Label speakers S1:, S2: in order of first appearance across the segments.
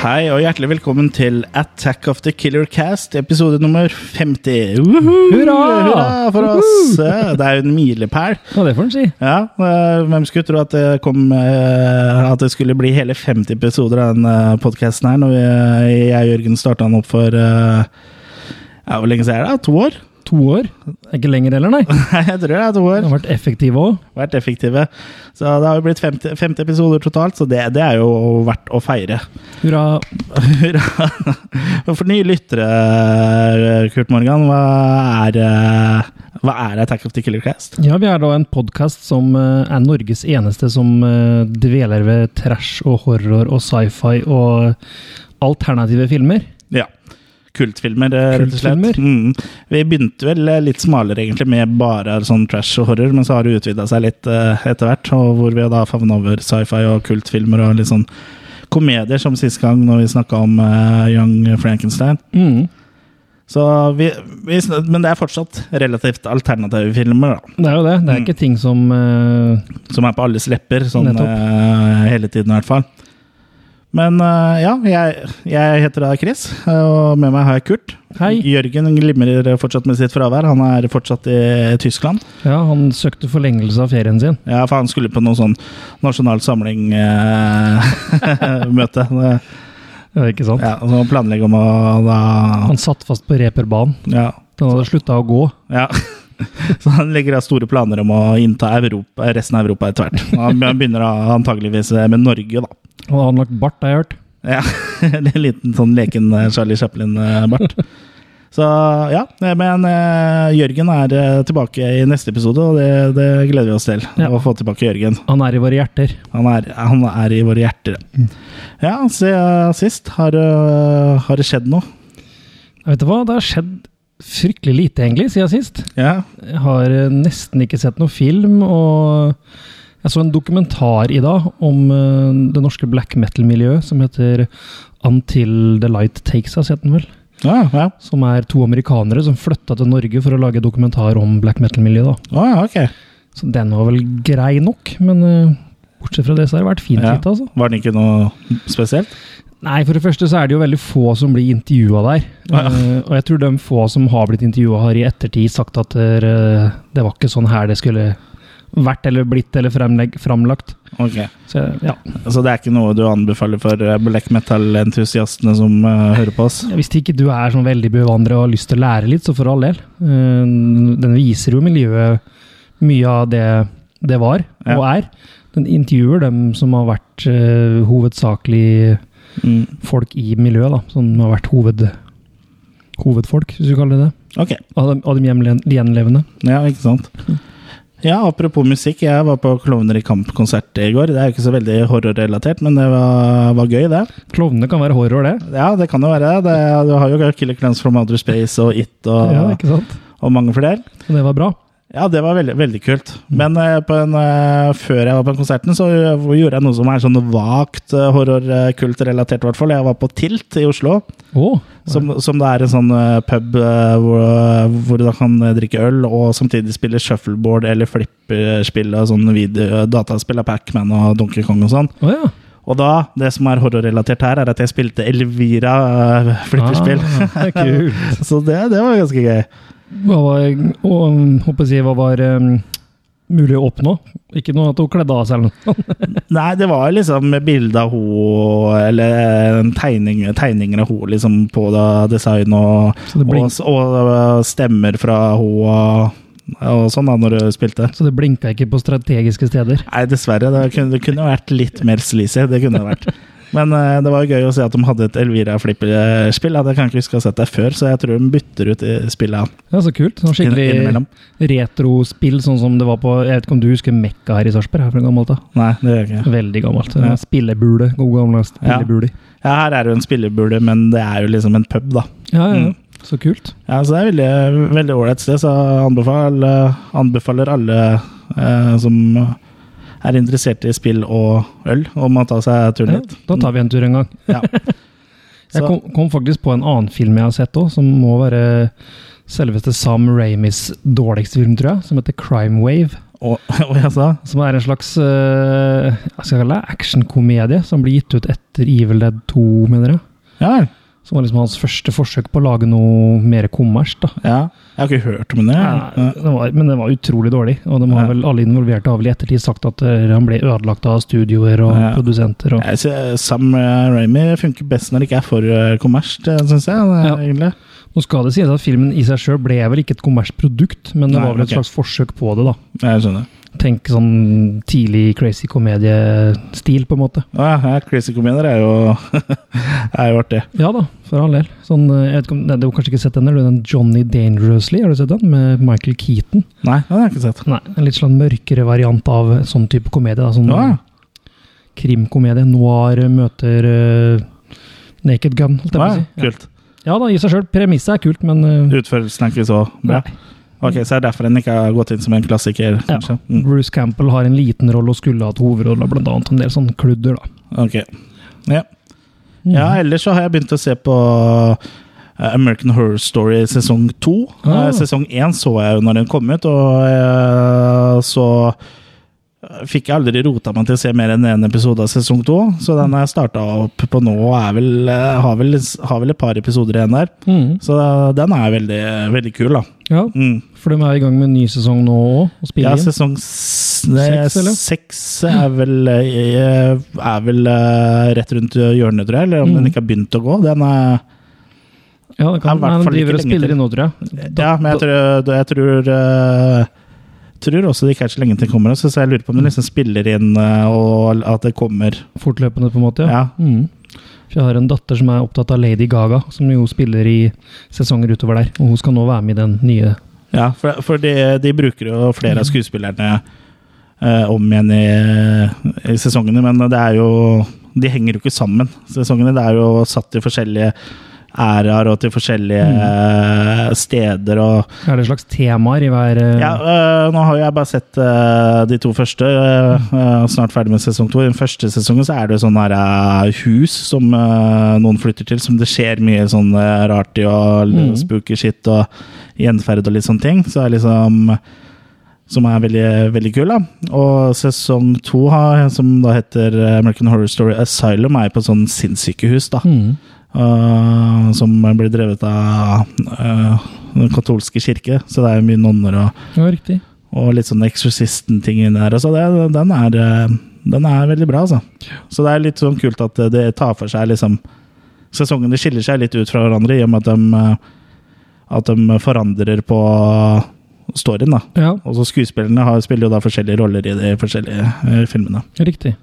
S1: Hei og hjertelig velkommen til Attack of the Killer Cast, episode nummer 50. Uhuhu,
S2: Hurra!
S1: hurra for oss! Ja, Det er jo en milepæl.
S2: Ja, det får en si.
S1: Ja, eh, hvem skulle tro at det, kom, eh, at det skulle bli hele 50 episoder av den podkasten her, når vi, eh, jeg og Jørgen starta den opp for eh, ja, Hvor lenge siden er det? To år?
S2: To år. Det er ikke lenger heller, nei.
S1: Nei, jeg tror det er to
S2: De
S1: år.
S2: har vært effektive òg.
S1: Vært effektive. Så det har jo blitt 50, 50 episoder totalt, så det, det er jo verdt å feire.
S2: Hurra.
S1: Hurra. For nye lyttere, Kurt Morgan, hva er, eh, hva er Attack of the Killer Cast?
S2: Ja, vi er da en podkast som eh, er Norges eneste som eh, dveler ved trash og horror og sci-fi og alternative filmer.
S1: Ja. Kultfilmer, eh, rett og slett.
S2: Kultfilmer.
S1: Mm. Vi begynte vel eh, litt smalere, egentlig, med bare sånn trash og horror, men så har det utvida seg litt eh, etter hvert, og hvor vi da favna over sci-fi og kultfilmer og litt sånn komedier, som sist gang når vi snakka om eh, Young Frankenstein.
S2: Mm.
S1: Så vi, vi, sn- men det er fortsatt relativt alternative filmer, da.
S2: Det er jo det. Det er
S1: Mm.
S2: ikke ting som eh,
S1: Som er på alles lepper, sånn
S2: Nettopp.
S1: eh, hele tiden i hvert fall. Men eh, ja, jeg, jeg heter da Chris, eh, og med meg har jeg Kurt.
S2: Hei.
S1: Jørgen glimrer fortsatt med sitt fravær. Han er fortsatt i Tyskland.
S2: Ja, han søkte forlengelse av ferien sin.
S1: Ja, for han skulle på noe sånn nasjonal samling-møte.
S2: Ja, ikke sant?
S1: ja, så planlegge om å da
S2: Han satt fast på reperbanen.
S1: ja,
S2: Den hadde slutta å gå.
S1: ja. Så han legger da store planer om å innta Europa, resten av Europa etter hvert. Han begynner da antageligvis med Norge, da.
S2: Han hadde anlagt bart, har jeg hørt.
S1: Ja, en liten sånn leken eh, Charlie Chaplin-bart. Så ja, eh, men eh, Jørgen er eh, tilbake i neste episode, og det, det gleder vi oss til.
S2: Ja.
S1: Å få tilbake Jørgen.
S2: Han er i våre hjerter.
S1: Han er, han er i våre hjerter. Ja, siden sist har, eh, har det skjedd noe.
S2: Vet du hva, det har skjedd fryktelig lite, egentlig, siden sist.
S1: Ja,
S2: Jeg har eh, nesten ikke sett noen film, og jeg så en dokumentar i dag om eh, det norske black metal-miljøet som heter Until the Light Takes Us, heter den vel.
S1: ja, ja.
S2: Som er to amerikanere som flytta til Norge for å lage dokumentar om black metal-miljøet. da.
S1: Å, ja ok.
S2: Så den var vel grei nok, men eh, bortsett fra det så har det vært fint
S1: Ja.
S2: hit, altså.
S1: Var det ikke noe spesielt?
S2: Nei, for det første så er det jo veldig få som blir intervjua der.
S1: Ah, ja.
S2: Eh, og jeg tror de få som har blitt intervjua, har i ettertid sagt at eh, det var ikke sånn her det skulle vært eller blitt eller fremlegg, framlagt.
S1: Ok,
S2: Så jeg- ja,
S1: Så det er ikke noe du anbefaler for eh, black metal-entusiastene som eh, hører på oss?
S2: Hvis ikke du er sånn veldig bevandret og har lyst til å lære litt, så for all del. Eh, den viser jo miljøet mye av det det var
S1: Ja.
S2: og er. Den intervjuer dem som har vært eh, hovedsakelig
S1: Mm.
S2: folk i miljøet, da. Som har vært hoved, hovedfolk, hvis du kaller det det.
S1: Ok.
S2: Av de, av de hjemle- gjenlevende.
S1: Ja, ikke sant. Ja, apropos musikk. Jeg var på Klovner i kamp-konsert i går. Det er jo ikke så veldig horrorrelatert, men det var, var gøy, det.
S2: Klovnene kan være horror, det.
S1: Ja, det kan jo være det. det du har jo Killer Clans from Outer Space og It og,
S2: Ja, ikke sant?
S1: og mange flere.
S2: Og det var bra.
S1: Ja, det var veldig, veldig kult. Men eh, på en, eh, før jeg var på konserten, så eh, gjorde jeg noe som er sånn vagt eh, horrorkult-relatert, i hvert fall. Jeg var på Tilt i Oslo,
S2: Å!
S1: som, som det er en sånn eh, pub eh, hvor, hvor du da kan eh, drikke øl og samtidig spille shuffleboard eller flipperspill og sånn video, dataspill av Pac-Man og Donkey Kong og sånn.
S2: Å ja.
S1: Og da, det som er horrorrelatert her, er at jeg spilte Elvira eh, flipperspill.
S2: Ah, det er kult.
S1: Så det, det var ganske gøy.
S2: Hva var, og, um, håper jeg, å si, hva var um, mulig å oppnå? Ikke noe at hun kledde av seg eller noe.
S1: Nei, det var liksom bilde av ho, eller eh, en tegning, tegninger av ho liksom på da, design og,
S2: Så det,
S1: og,
S2: blink,
S1: og eh, stemmer fra ho og, og sånn da, når du spilte.
S2: så det blinka ikke på strategiske steder.
S1: Nei, dessverre. Det kunne, det kunne vært litt mer sleazy. Det kunne det vært. Men eh, det var gøy å se at de hadde et Elvira Flipper-spill. Jeg kan ikke huske å ha sett det før, så jeg tror de bytter ut i spillet
S2: Ja, Så kult. Sånn
S1: inn-
S2: skikkelig
S1: innimellom.
S2: retrospill, sånn som det var på Jeg vet ikke om du husker Mekka her i Sarpsborg? Her fra gammelt av.
S1: Nei, det gjør jeg ikke.
S2: Veldig gammelt.
S1: Ja.
S2: Spillebule. God gamle spillebule.
S1: Ja, her er det jo en spillebule, men det er jo liksom en pub, da.
S2: Ja, ja.
S1: Mm.
S2: ja. Så kult.
S1: Ja, Så det er veldig veldig ålreit sted, så jeg anbefaler, anbefaler alle eh, som er interessert i spill og øl, om å ta seg turen
S2: Ja,
S1: dit.
S2: da tar vi en tur en gang.
S1: Ja. Så-
S2: Jeg kom, kom faktisk på en annen film jeg har sett òg, som må være selveste Sam Ramis dårligste film, tror jeg. Som heter Crime Wave.
S1: Og, og jeg sa
S2: Som er en slags eh, hva skal jeg kalle det, actionkomedie som blir gitt ut etter Evil Dead 2, mener jeg.
S1: Ja vel.
S2: Som var liksom hans første forsøk på å lage noe mer kommers. da.
S1: Ja. Jeg har ikke hørt om det.
S2: Nei, den var, men den var utrolig dårlig, og de har
S1: Ja.
S2: vel alle involverte har vel i ettertid sagt at eh, han ble ødelagt av studioer og
S1: Ja.
S2: produsenter. Og,
S1: Jeg synes Sam eh, Raimi funker best når det ikke er for eh, kommers, det synes jeg. det er
S2: Ja.
S1: egentlig.
S2: Nå skal det sies at filmen i seg sjøl ble vel ikke et kommersprodukt, men det
S1: Nei,
S2: var vel et
S1: ok.
S2: slags forsøk på det. da.
S1: Jeg skjønner.
S2: Tenk sånn tidlig crazy komediestil, på en måte.
S1: Å ja, ja, Crazy Comedier er jo er jo artig.
S2: Ja da, for all del. Sånn, eh, jeg vet ikke om, nei, Du har kanskje ikke sett den? Eller den Johnny Dangerously, har du sett den? Med Michael Keaton.
S1: Nei, den har jeg ikke sett.
S2: Nei, En litt sånn mørkere variant av sånn type komedie. da, Sånn
S1: Å, ja.
S2: krimkomedie. Noir møter eh, Naked Gun, holdt
S1: Å,
S2: jeg på å
S1: ja.
S2: si. Ja.
S1: Kult.
S2: Ja da, i seg sjøl. Premisset er kult, men eh,
S1: Utførelsen er ikke så bra.
S2: nei.
S1: Ok, Så det er derfor den ikke har gått inn som en klassiker,
S2: Ja.
S1: kanskje? Mm.
S2: Bruce Campbell har en liten rolle og skulle hatt hovedrolla, blant annet. En del sånn kludder, da.
S1: Ok.
S2: Mm.
S1: Ja, ellers så har jeg begynt å se på eh, American Horror Story sesong to.
S2: Ah.
S1: Eh, Sesong én så jeg jo når den kom ut, og eh, så eh, fikk jeg aldri rota meg til å se mer enn én episode av sesong to, så den har jeg starta opp på nå og er vel, eh, har, vel, har vel et par episoder igjen der.
S2: Mm.
S1: Så eh, den er veldig, veldig kul, da.
S2: ja,
S1: Mm.
S2: for de er i gang med en ny sesong nå òg, og
S1: Ja,
S2: spiller inn.
S1: sesong s- nei,
S2: Seks, eller?
S1: seks er vel, eh, er vel eh, rett rundt hjørnet, tror jeg. Eller om
S2: Mm.
S1: den ikke har begynt å gå. Den er,
S2: Ja,
S1: er
S2: det
S1: i
S2: kan,
S1: hvert
S2: nei, de
S1: fall ikke
S2: driver og
S1: lenge
S2: spiller
S1: til. Eh,
S2: inn nå, tror jeg.
S1: ja, men jeg tror, jeg tror eh, Tror også det ikke er så lenge til den kommer, så så jeg lurer på om den liksom spiller inn eh, og at det kommer.
S2: Fortløpende, på en måte.
S1: Ja.
S2: Mm. For Jeg har en datter som er opptatt av Lady Gaga, som jo spiller i sesonger utover der. Og hun skal nå være med i den nye.
S1: ja for for de, de bruker jo flere av skuespillerne eh, om igjen i, i sesongene, men det er jo De henger jo ikke sammen, sesongene. Det er jo satt i forskjellige æraer og til forskjellige eh, steder og
S2: Er det slags temaer i hver eh,
S1: Ja, øh, nå har jo jeg bare sett øh, de to første. øh, øh, snart ferdig med sesong to. I den første sesongen så er det sånn her øh, hus som øh, noen flytter til, som det skjer mye sånn øh, rart i, og
S2: Mm.
S1: mm. spooky shit og gjenferd og litt sånne ting. Så er liksom som er veldig, veldig kul. da. Og sesong to, har- som da heter øh, American Horror Story Asylum, er på sånn sinnssykehus. da.
S2: Mm.
S1: Øh, som blir drevet av øh, den katolske kirke, så det er jo mye nonner og
S2: ja, riktig.
S1: og litt sånn Exorcisten-ting inni der. og Så det, den, er, eh, den er veldig bra, altså. Så det er litt sånn kult at det tar for seg liksom Sesongene skiller seg litt ut fra hverandre i og med at de, eh, at de forandrer på storyen, da.
S2: Ja,
S1: Og så skuespillerne har, spiller jo da forskjellige roller i de forskjellige eh, filmene.
S2: riktig.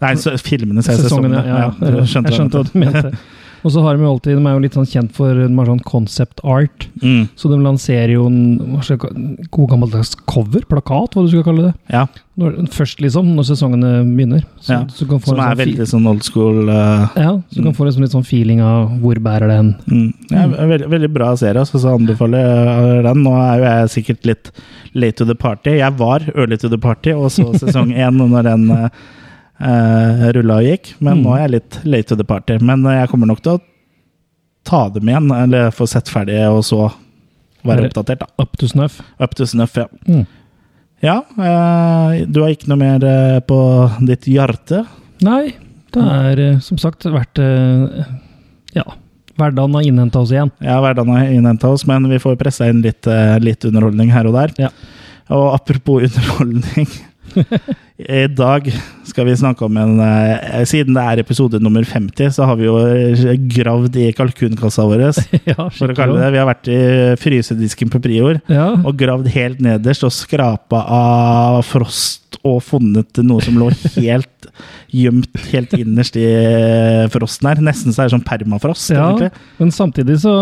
S1: Nei, så, filmene, sier jeg.
S2: Sesongene,
S1: Sesongene.
S2: ja. ja.
S1: du skjønte
S2: jeg skjønte
S1: hva
S2: hva du mente. Og så har de jo alltid, de er jo litt sånn kjent for de har sånn concept art,
S1: mente. Mm,
S2: så de lanserer jo en hva skal jeg ka- god gammeldags cover, plakat, hva du skal kalle det.
S1: ja.
S2: Når, først liksom, når sesongene begynner. Så,
S1: Ja,
S2: så du kan få
S1: Som
S2: en
S1: er
S2: sånn fi-
S1: veldig sånn old school eh,
S2: Ja, så du kan få liksom litt sånn feeling av hvor bærer det hen.
S1: Mm. Ja,
S2: Mm.
S1: veldig, veldig bra serie, altså, så anbefaler jeg den. Nå er jo jeg sikkert litt late to the party. Jeg var early to the party, og så sesong én når den uh, rulla og gikk. Men
S2: Mm.
S1: nå er jeg litt late to the party. Men eh, jeg kommer nok til å ta dem igjen, eller få sett ferdig, og så være
S2: Eller-
S1: oppdatert. da.
S2: Up to snuff.
S1: Up to snuff, ja.
S2: Mm.
S1: Ja, eh, du har ikke noe mer eh, på ditt hjerte?
S2: Nei, det
S1: Mm.
S2: er eh, som sagt vært eh, Ja. Hverdagen har innhenta oss igjen.
S1: Ja, hverdagen har innhenta oss, men vi får pressa inn litt, eh, litt underholdning her og der.
S2: Ja.
S1: Og apropos underholdning I dag skal vi snakke om en eh, Siden det er episode nummer 50, så har vi jo eh, gravd i kalkunkassa vår,
S2: ja,
S1: for å kalle det det. Vi har vært i frysedisken på Prior
S2: Ja,
S1: og gravd helt nederst og skrapa av frost og funnet noe som lå helt gjemt helt innerst i eh, frosten her. Nesten så er det sånn permafrost,
S2: ja,
S1: egentlig.
S2: men samtidig så,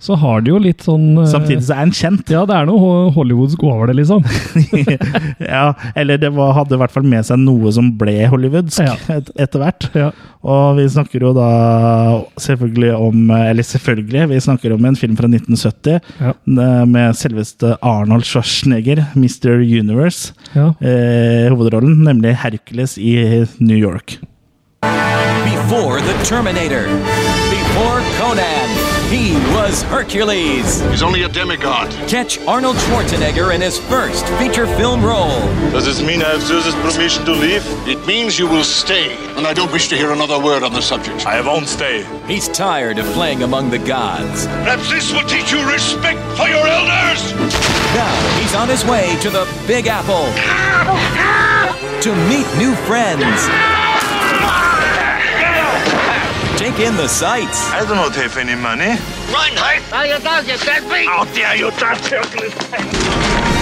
S2: så har det jo litt sånn eh,
S1: Samtidig så er den kjent.
S2: Ja, det er noe ho- hollywoodsk over det, liksom.
S1: ja, eller det var, hadde i hvert fall med seg noe som ble hollywoodsk
S2: Ja.
S1: et, etter hvert.
S2: Ja.
S1: Og vi snakker jo da selvfølgelig om Eller selvfølgelig, vi snakker om en film fra 1970
S2: Ja.
S1: eh, med selveste Arnold Schwarzenegger, Mr. Universe,
S2: ja.
S1: eh, hovedrollen, nemlig Hercules i New York.
S3: Before the Terminator. Before Conan. He was Hercules.
S4: He's only a demigod.
S3: Catch Arnold Schwarzenegger in his first feature film role.
S4: Does this mean I have Zeus's permission to leave? It means you will stay. And I don't wish to hear another word on the subject. I won't stay.
S3: He's tired of playing among the gods.
S4: Perhaps this will teach you respect for your elders!
S3: Now he's on his way to the Big Apple to meet new friends. Take in the sights
S4: I don't have any money. Run, hey! How you dog, you dead beat? Out there, you dog, Hercules!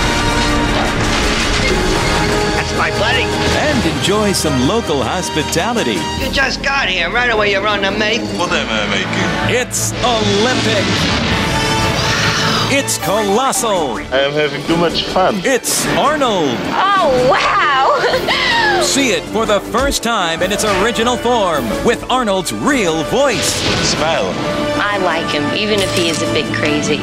S5: That's my buddy.
S3: and enjoy some local hospitality.
S5: You just got here. Right away, you're on the make.
S4: What am I making?
S3: It's Olympic. It's colossal.
S4: I am having too much fun.
S3: It's Arnold.
S6: Oh, wow!
S3: See it for the first time in its original form with Arnold's real voice.
S4: Smile.
S6: I like him, even if he is a bit crazy.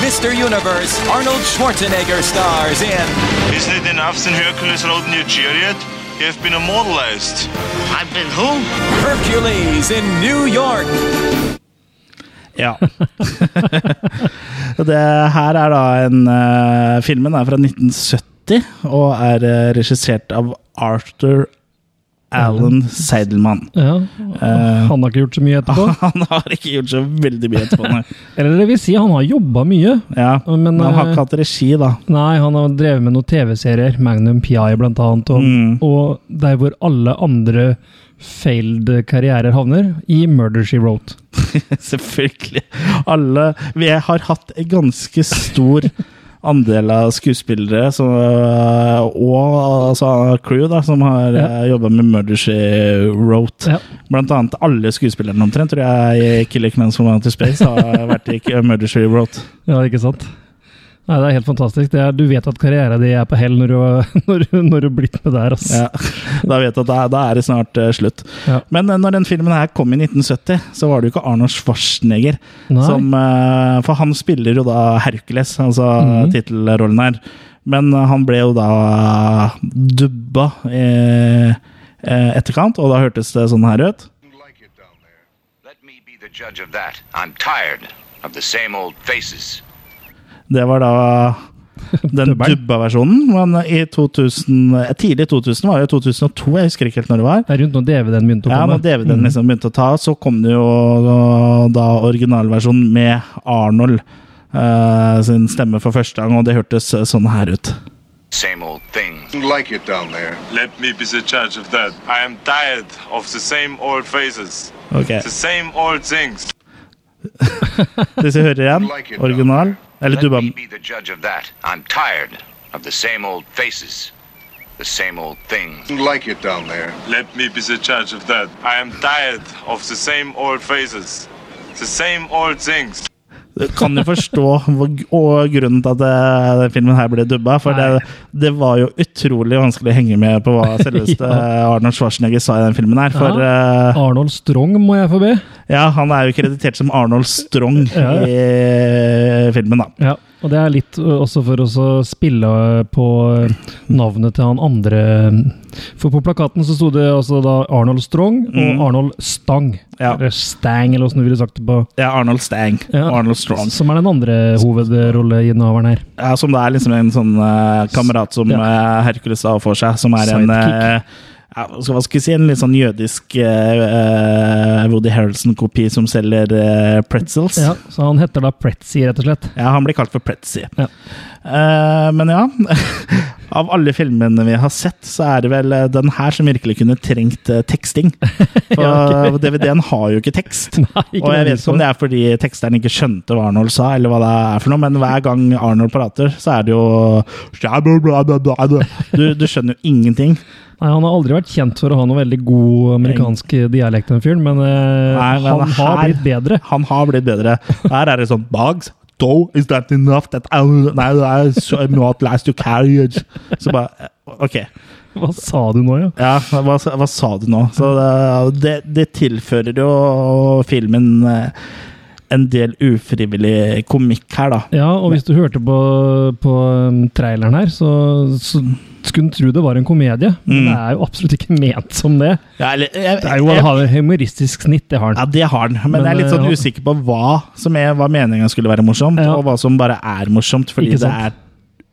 S3: Mr. Universe, Arnold Schwarzenegger stars in
S4: Isn't it enough since Hercules rode in your chariot? You have been immortalized.
S5: I've been who?
S3: Hercules in New York.
S1: Ja. Og det her er da en eh, Filmen er fra 1970 og er eh, regissert av Arthur Allen Seidelmann.
S2: Ja, og
S1: Eh.
S2: han har ikke gjort så mye etterpå.
S1: Han har ikke gjort så veldig mye etterpå, nei.
S2: Eller det vil si, han har jobba mye.
S1: Ja,
S2: Men,
S1: men han har
S2: eh,
S1: ikke hatt regi, da.
S2: Nei, han har drevet med noen TV-serier, Magnum PI blant annet, og,
S1: Mm.
S2: og der hvor alle andre failed karrierer havner, i Murder She Wrote.
S1: Selvfølgelig. Alle Vi har hatt en ganske stor andel av skuespillere som, eh, og altså, crew da, som har
S2: Ja.
S1: ja. jobba med Murder She Wrote.
S2: Ja.
S1: Blant annet alle skuespillerne omtrent, tror jeg, i Killer Clowns from Outer Space har vært i Murder She Wrote.
S2: Ja, ikke sant? Nei, det er helt fantastisk. Det er, du vet at karrieren din er på hell når du, når, du- når du har blitt med der, ass.
S1: Ja, da vet jeg at da, da er det snart eh, slutt.
S2: Ja.
S1: Men eh, når den filmen her kom i 1970, så var det jo ikke Arnold Schwarzenegger.
S2: Nei.
S1: Som, eh, for han spiller jo da Hercules, altså
S2: Mhm.
S1: tittelrollen her. Men eh, han ble jo da eh, dubba i eh, etterkant, og da hørtes det sånn her ut.
S7: like it down there. Let me be the judge of that. I'm tired of the same old faces.
S1: Det var da den dubba versjonen. Men i 2000, eh, tidlig 2000 var det jo 2002, jeg husker ikke helt når det var.
S2: Det er rundt når DVD-en begynte å
S1: Ja,
S2: komme.
S1: når DVD-en liksom begynte å ta, så kom det jo da originalversjonen med Arnold eh, sin stemme for første gang, og det hørtes sånn her ut.
S7: Same old thing.
S8: like it down there.
S9: Let me be the judge of that. I am tired of the same old faces,
S1: Ok,
S9: the same old things.
S1: Hvis vi hører igjen, original Eller
S7: Let
S1: dubba
S7: me be the judge of that. I'm tired of the same old faces. The same old thing.
S8: Like it down there.
S9: Let me be the judge of that. I am tired of the same old faces, the same old things.
S1: Kan du forstå hvor, og grunnen til at det, den filmen her ble dubba? For
S2: Nei.
S1: det, det var jo utrolig vanskelig å henge med på hva selveste Arnold Schwarzenegger sa i den filmen her. For eh,
S2: Arnold Strong må jeg få be.
S1: ja, han er jo kreditert som Arnold Strong
S2: Ja.
S1: i filmen, da.
S2: Ja, og det er litt ø, også for oss å spille ø, på ø, navnet til han andre. For på plakaten så sto det altså da Arnold Strong og Arnold Stang.
S1: Mm. Ja.
S2: Eller Stang, eller hvordan du ville sagt det på.
S1: Ja, Arnold Stang.
S2: Ja.
S1: Arnold Strong.
S2: Som er den andre hovedrolleinnehaveren her.
S1: Ja, som det er liksom en sånn eh, kamerat som
S2: Ja.
S1: eh, Hercules har for seg, som er en
S2: Sidekick.
S1: eh, ja, hva skal- hva skal vi si, en litt sånn jødisk eh, eh, Woody Harrelson-kopi som selger eh, pretzels.
S2: Ja,
S1: Ja.
S2: så han heter da Pretzy, rett og slett.
S1: han blir kalt for Pretzy.
S2: Ja.
S1: Eh, men ja, av alle filmene vi har sett, så er det vel eh, den her som virkelig kunne trengt eh, teksting. For DVD-en har jo ikke tekst.
S2: Ikke
S1: og jeg vet
S2: nødvendigvis
S1: ikke om det er fordi teksteren ikke skjønte hva Arnold sa, eller hva det er for noe, men hver gang Arnold prater, så er det jo Du, du skjønner jo ingenting.
S2: Nei, Han har aldri vært kjent for å ha noe veldig god amerikansk dialekt, den fyren, men, ø,
S1: Nei, men
S2: han har
S1: her-
S2: blitt bedre.
S1: Han har blitt bedre. Her er det sånn Bugs, though, is that enough that I, nei, I I'm not last to carry it. Så bare eh, Ok.
S2: Hva sa du nå, ja?
S1: Ja, hva, hva sa du nå? Så det, det, det tilfører jo filmen eh, en del ufrivillig komikk her, da.
S2: Ja, og hvis du hørte på, på um, traileren her, så, så skulle tro det var en komedie, men
S1: Mm.
S2: det er jo absolutt ikke ment som det.
S1: Ja, eller, jeg,
S2: Det er jo
S1: jeg-
S2: Han har et humoristisk snitt, det har
S1: ja,
S2: han.
S1: det har den, men,
S2: Men,
S1: jeg er litt sånn
S2: eh, ja.
S1: usikker på hva som er, hva meninga skulle være morsomt,
S2: Ja.
S1: og hva som bare er morsomt, fordi det
S2: Ikke sant?
S1: er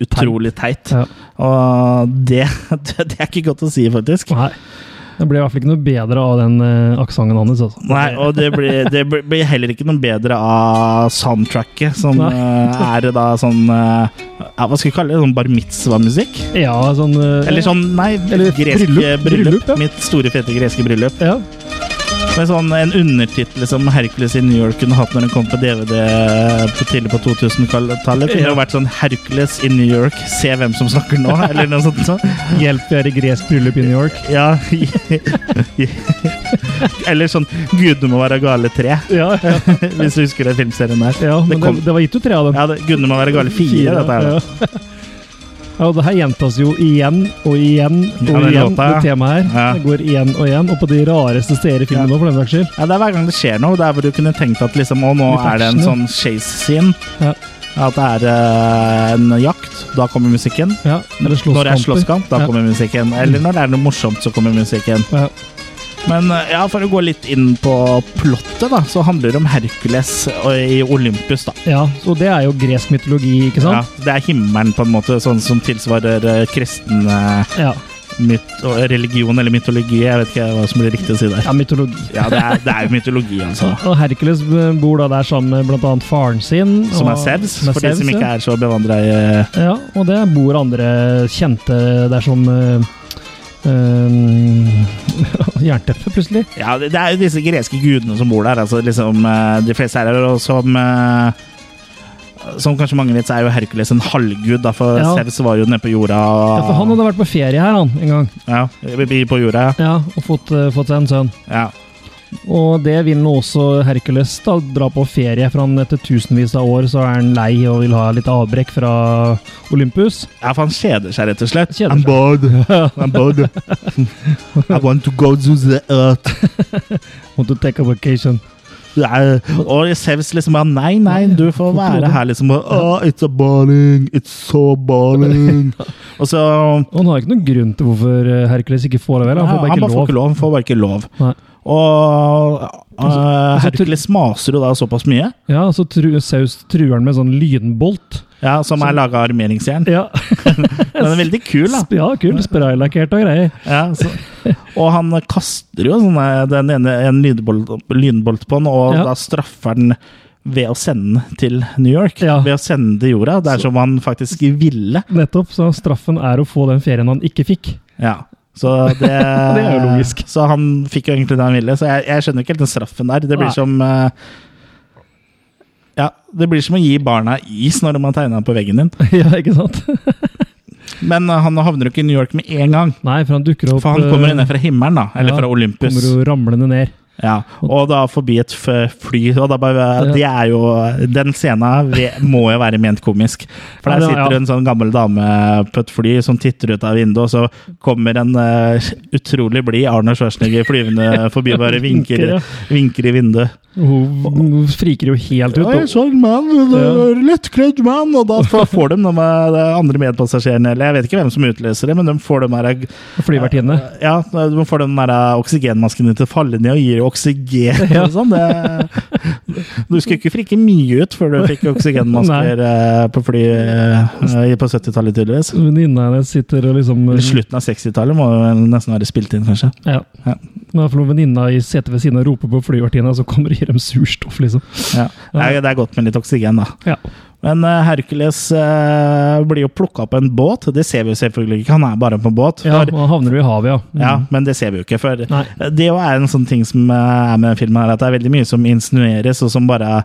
S1: utrolig teit.
S2: Ja.
S1: Og det, det, det er ikke godt å si, faktisk.
S2: Nei. Det ble i hvert fall ikke noe bedre av den uh, aksenten hans. Altså.
S1: Nei, og det blir, det blir- blir heller ikke noe bedre av soundtracket, som
S2: Nei.
S1: eh, er da sånn eh, ja, Hva skal vi kalle det? Sånn bar mitzvah-musikk?
S2: Ja, sånn eh,
S1: Eller sånn, nei,
S2: Eller
S1: greske bryllup.
S2: bryllup, bryllup, ja.
S1: Mitt store, fete greske bryllup.
S2: Ja.
S1: Med sånn en undertittel som Hercules i New York kunne hatt når den kom på DVD på tidlig på 2000-tallet. Kunne
S2: Ja.
S1: jo vært sånn Hercules i New York, se hvem som snakker nå, eller noe sånt. sånt.
S2: Hjelp, vi er i gresk bryllup i New York.
S1: Ja. eller sånn Gudene må være gale tre,
S2: Ja, ja,
S1: hvis du husker den filmserien der.
S2: ja men
S1: det
S2: det,
S1: kom,
S2: det, var gitt ut tre av dem.
S1: ja, det, Gudene må være gale fire, dette her. da.
S2: Ja. Ja, og det her gjentas jo igjen og igjen
S1: Ja,
S2: og
S1: den
S2: igjen,
S1: låta, ja.
S2: det temaet
S1: Ja.
S2: her. Det går igjen og igjen, og på de rareste steder i filmen
S1: Ja.
S2: nå, for den saks skyld.
S1: Ja, det er hver gang det skjer noe. Der hvor du kunne tenkt at liksom, å, nå
S2: Litt
S1: er det en
S2: action,
S1: sånn chase-scene.
S2: Ja.
S1: At det er eh, en jakt. Da kommer musikken.
S2: Ja, eller
S1: Når det er
S2: slåsskamper.
S1: slåsskamp, da
S2: Ja.
S1: kommer musikken. Eller når det er noe morsomt, så kommer musikken.
S2: Ja.
S1: Men eh, ja, for å gå litt inn på plottet, da, så handler det om Hercules og- i Olympus, da.
S2: Ja, og det er jo gresk mytologi, ikke
S1: Ja,
S2: sant?
S1: det er himmelen, på en måte, sånn som tilsvarer eh, kristen eh,
S2: Ja, ja.
S1: myt og religion eller mytologi. Jeg vet ikke hva som blir riktig å si der.
S2: mytologi.
S1: Ja, det er, det er jo mytologi, altså.
S2: Og Hercules eh, bor da der sammen med blant annet faren sin.
S1: Som er
S2: og-
S1: Sevs,
S2: som er
S1: for de
S2: Zeus,
S1: som
S2: ja.
S1: ikke er så bevandra i
S2: Ja, og det bor andre kjente der som uh, Jernteppe, plutselig.
S1: Ja, det det er jo disse greske gudene som bor der. Altså liksom eh, De fleste er her, og som eh, Som kanskje mange vet, så er jo Herkules en halvgud, da, for
S2: Ja.
S1: Sevs var jo nede på jorda.
S2: Ja, for han hadde vært på ferie her han, en gang
S1: ja, vi- vi på jorda, ja.
S2: Ja, og fått, eh, fått seg en sønn.
S1: ja.
S2: Og det vil nå også Hercules da, dra på ferie, for han etter tusenvis av år så er han lei og vil ha litt avbrekk fra Olympus.
S1: Ja, for han kjeder seg, rett og slett.
S2: Kjeder
S1: I'm
S2: seg.
S1: bored. I'm bored. I want to go to the earth.
S2: Want to take a vacation.
S1: Ja, Og Sevs liksom bare Nei, nei, du får være her, liksom. Og, «Åh, it's a balling. It's so balling. Og så
S2: Og han har ikke noen grunn til hvorfor eh, Hercules ikke får det vel. Han får bare
S1: Ja,
S2: ikke
S1: får ikke
S2: lov.
S1: lov. Han får bare ikke lov.
S2: Nei. Altså,
S1: Og eh,
S2: så-
S1: Hercules maser jo da såpass mye,
S2: Ja, så tru, Saus truer han med sånn lynbolt.
S1: ja, som er laga av armeringsjern.
S2: Ja,
S1: Den er veldig kul, da.
S2: ja kult. Spraylakkert og greier.
S1: Ja, så. Og han kaster jo sånne, den ene en lynbolt, lynbolt på den, og
S2: Ja.
S1: da straffer han ved å sende den til New York.
S2: Ja.
S1: Ved å sende den til jorda, der som han faktisk ville.
S2: Nettopp, så straffen er å få den ferien han ikke fikk.
S1: Ja. Så det,
S2: er jo logisk.
S1: Så han fikk jo egentlig det han ville, så jeg, jeg skjønner ikke helt den straffen der. Det blir
S2: Nei.
S1: som eh, Ja, det blir som å gi barna is når de har tegna på veggen din.
S2: ja, ikke sant?
S1: Men eh, han havner jo ikke i New York med en gang,
S2: Nei, for han dukker opp
S1: for han kommer jo ned
S2: eh,
S1: fra himmelen, da. Eller
S2: ja,
S1: fra Olympus.
S2: Kommer jo ramlende ned.
S1: Ja, og da forbi et f- fly. Og da bare, det er jo, den scenen ve- må jo være ment komisk. For
S2: Ja,
S1: der
S2: det- ja.
S1: sitter en sånn gammel dame på et fly som titter ut av vinduet, og så kommer en eh, utrolig blid Arne Schwarzenegger flyvende forbi og bare vinker,
S2: Vinker, ja.
S1: vinker i vinduet.
S2: Hun hun friker jo helt ut. og-
S1: så en mann, en lettkledd mann, og da får får de de eh, andre medpassasjerene, eller jeg vet ikke hvem som utløser det, men de får de her
S2: Og flyvertinne.
S1: Eh, ja, man får den der eh, oksygenmasken din til å falle ned og gir oksygen
S2: Ja.
S1: og sånn. Det, du skulle ikke frikke mye ut før du fikk oksygenmasker eh, på fly eh, på 70-tallet, tydeligvis.
S2: Venninna hennes sitter og liksom
S1: Eller slutten av 60-tallet må vel nesten være spilt inn, kanskje.
S2: Ja.
S1: Ja.
S2: Men for venninna i setet ved siden av roper på flyvertinna, så kommer og gir dem surstoff, liksom.
S1: Ja. Det, er, det er godt med litt oksygen, da.
S2: Ja.
S1: Men eh, Hercules eh, blir jo plukka opp på en båt. Det ser vi jo selvfølgelig ikke, han er bare på en båt.
S2: ja
S1: For-
S2: og havner du i havet, ja. Mm.
S1: Ja, men det ser vi jo ikke. For
S2: Nei.
S1: det jo er en sånn ting som eh, er med filmen, her, at det er veldig mye som insinueres, og som bare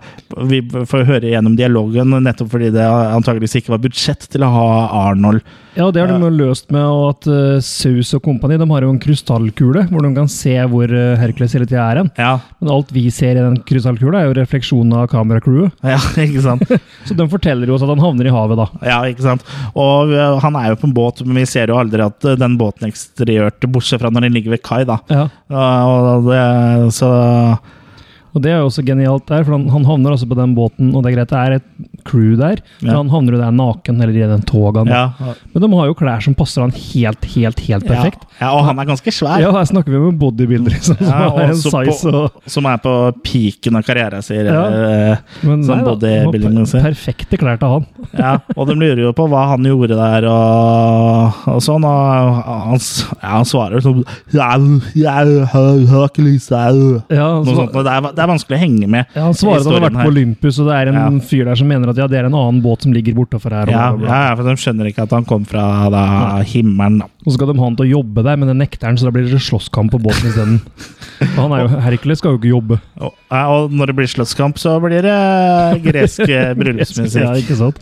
S1: vi får høre gjennom dialogen, nettopp fordi det antageligvis ikke var budsjett til å ha Arnold.
S2: Ja, det har de jo løst med at eh, Saus og kompani de har jo en krystallkule, hvor de kan se hvor eh, Hercules hele tida er hen.
S1: Ja,
S2: Men alt vi ser i den krystallkula, er jo refleksjonen av kameracrewet.
S1: ja ikke sant?
S2: Så de forteller jo oss at han havner i havet, da.
S1: Ja, ikke sant? Og eh, han er jo på en båt, men vi ser jo aldri at eh, den båten eksteriørte, bortsett fra når den ligger ved kai, da.
S2: Ja.
S1: Og det, så
S2: Og det er jo også genialt der, for han, han havner altså på den båten, og det er greit, det er et crew der.
S1: Ja.
S2: For han havner jo der naken eller i den togaen.
S1: Ja,
S2: Men de har jo klær som passer han helt, helt, helt
S1: ja.
S2: perfekt.
S1: ja, og han er ganske svær.
S2: Ja, her snakker vi om en bodybuilder liksom, som
S1: Ja, og
S2: har en
S1: så
S2: size
S1: på,
S2: og
S1: Som er på piken av karrieren sin.
S2: Ja.
S1: eller,
S2: men
S1: Som
S2: nei da, de har
S1: bodybuilding,
S2: per-
S1: altså.
S2: Perfekte klær til han.
S1: eh, ja. Og de lurer jo på hva han gjorde der, og, og sånn. Og han, s- ja, han svarer sånn ja, ja, jeg har ikke lyst, ja.
S2: Ja,
S1: Noe
S2: altså- han, sva-
S1: sånt, og det, er, det er vanskelig å henge med.
S2: ja, han svarer at han har
S1: historien
S2: vært
S1: her.
S2: på Olympus, og det er en
S1: Ja.
S2: fyr der som mener at ja, det er en annen båt som ligger bortafor her. Og,
S1: Ja,
S2: bla, bla, bla.
S1: ja, ja, for de skjønner ikke at han kom fra da, himmelen. Da.
S2: og så skal de ha han til å jobbe der, men det nekter han, så da blir det slåsskamp på båten isteden. Og han er jo Hercules skal jo ikke jobbe.
S1: Og, ja, og når det blir slåsskamp, så blir det gresk eh,
S2: Ja,
S1: bryllupsmusikk.
S2: ikke sant?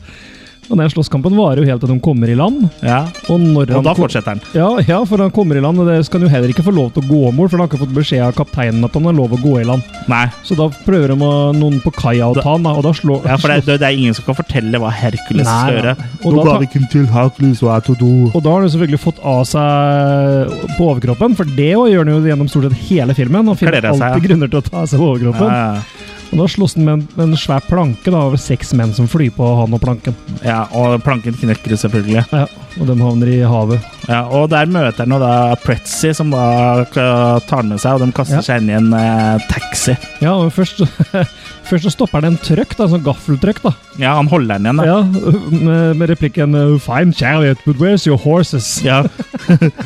S2: Og den slåsskampen varer jo helt til de kommer i land.
S1: Ja,
S2: Og, når
S1: og
S2: han
S1: da
S2: ko-
S1: fortsetter han.
S2: ja, ja, for han kommer i land, og det skal han jo heller ikke få lov til å gå om bord, for han har ikke fått beskjed av kapteinen at han har lov å gå i land.
S1: Nei,
S2: Så da prøver de å, noen på kaia å ta han, da, og da slår
S1: ja, for det, det, det er ingen som kan fortelle hva Herkules
S2: Nei,
S1: skal gjøre.
S2: nei. Og da, tar-
S1: Og
S2: og da har han jo selvfølgelig fått av seg på overkroppen, for det gjør han jo gjennom stort sett hele filmen. Og finner
S1: Kler av
S2: alltid
S1: seg,
S2: grunner til å ta av seg overkroppen.
S1: Ja,
S2: Og da slåss han med en, med en svær planke da, over seks menn som flyr på han og planken.
S1: ja, og planken knekker selvfølgelig.
S2: Ja, og de havner i havet.
S1: Ja, og der møter han jo da Pretzy, som da eh, tar med seg, og de kaster
S2: Ja.
S1: seg inn i en eh, taxi.
S2: Ja, og først, først så stopper han en trøkk, da, en sånn gaffeltrøkk, da.
S1: Ja, han holder den igjen, da.
S2: Ja, med, med replikken eh, Fine chariot, but where's your horses?
S1: Ja.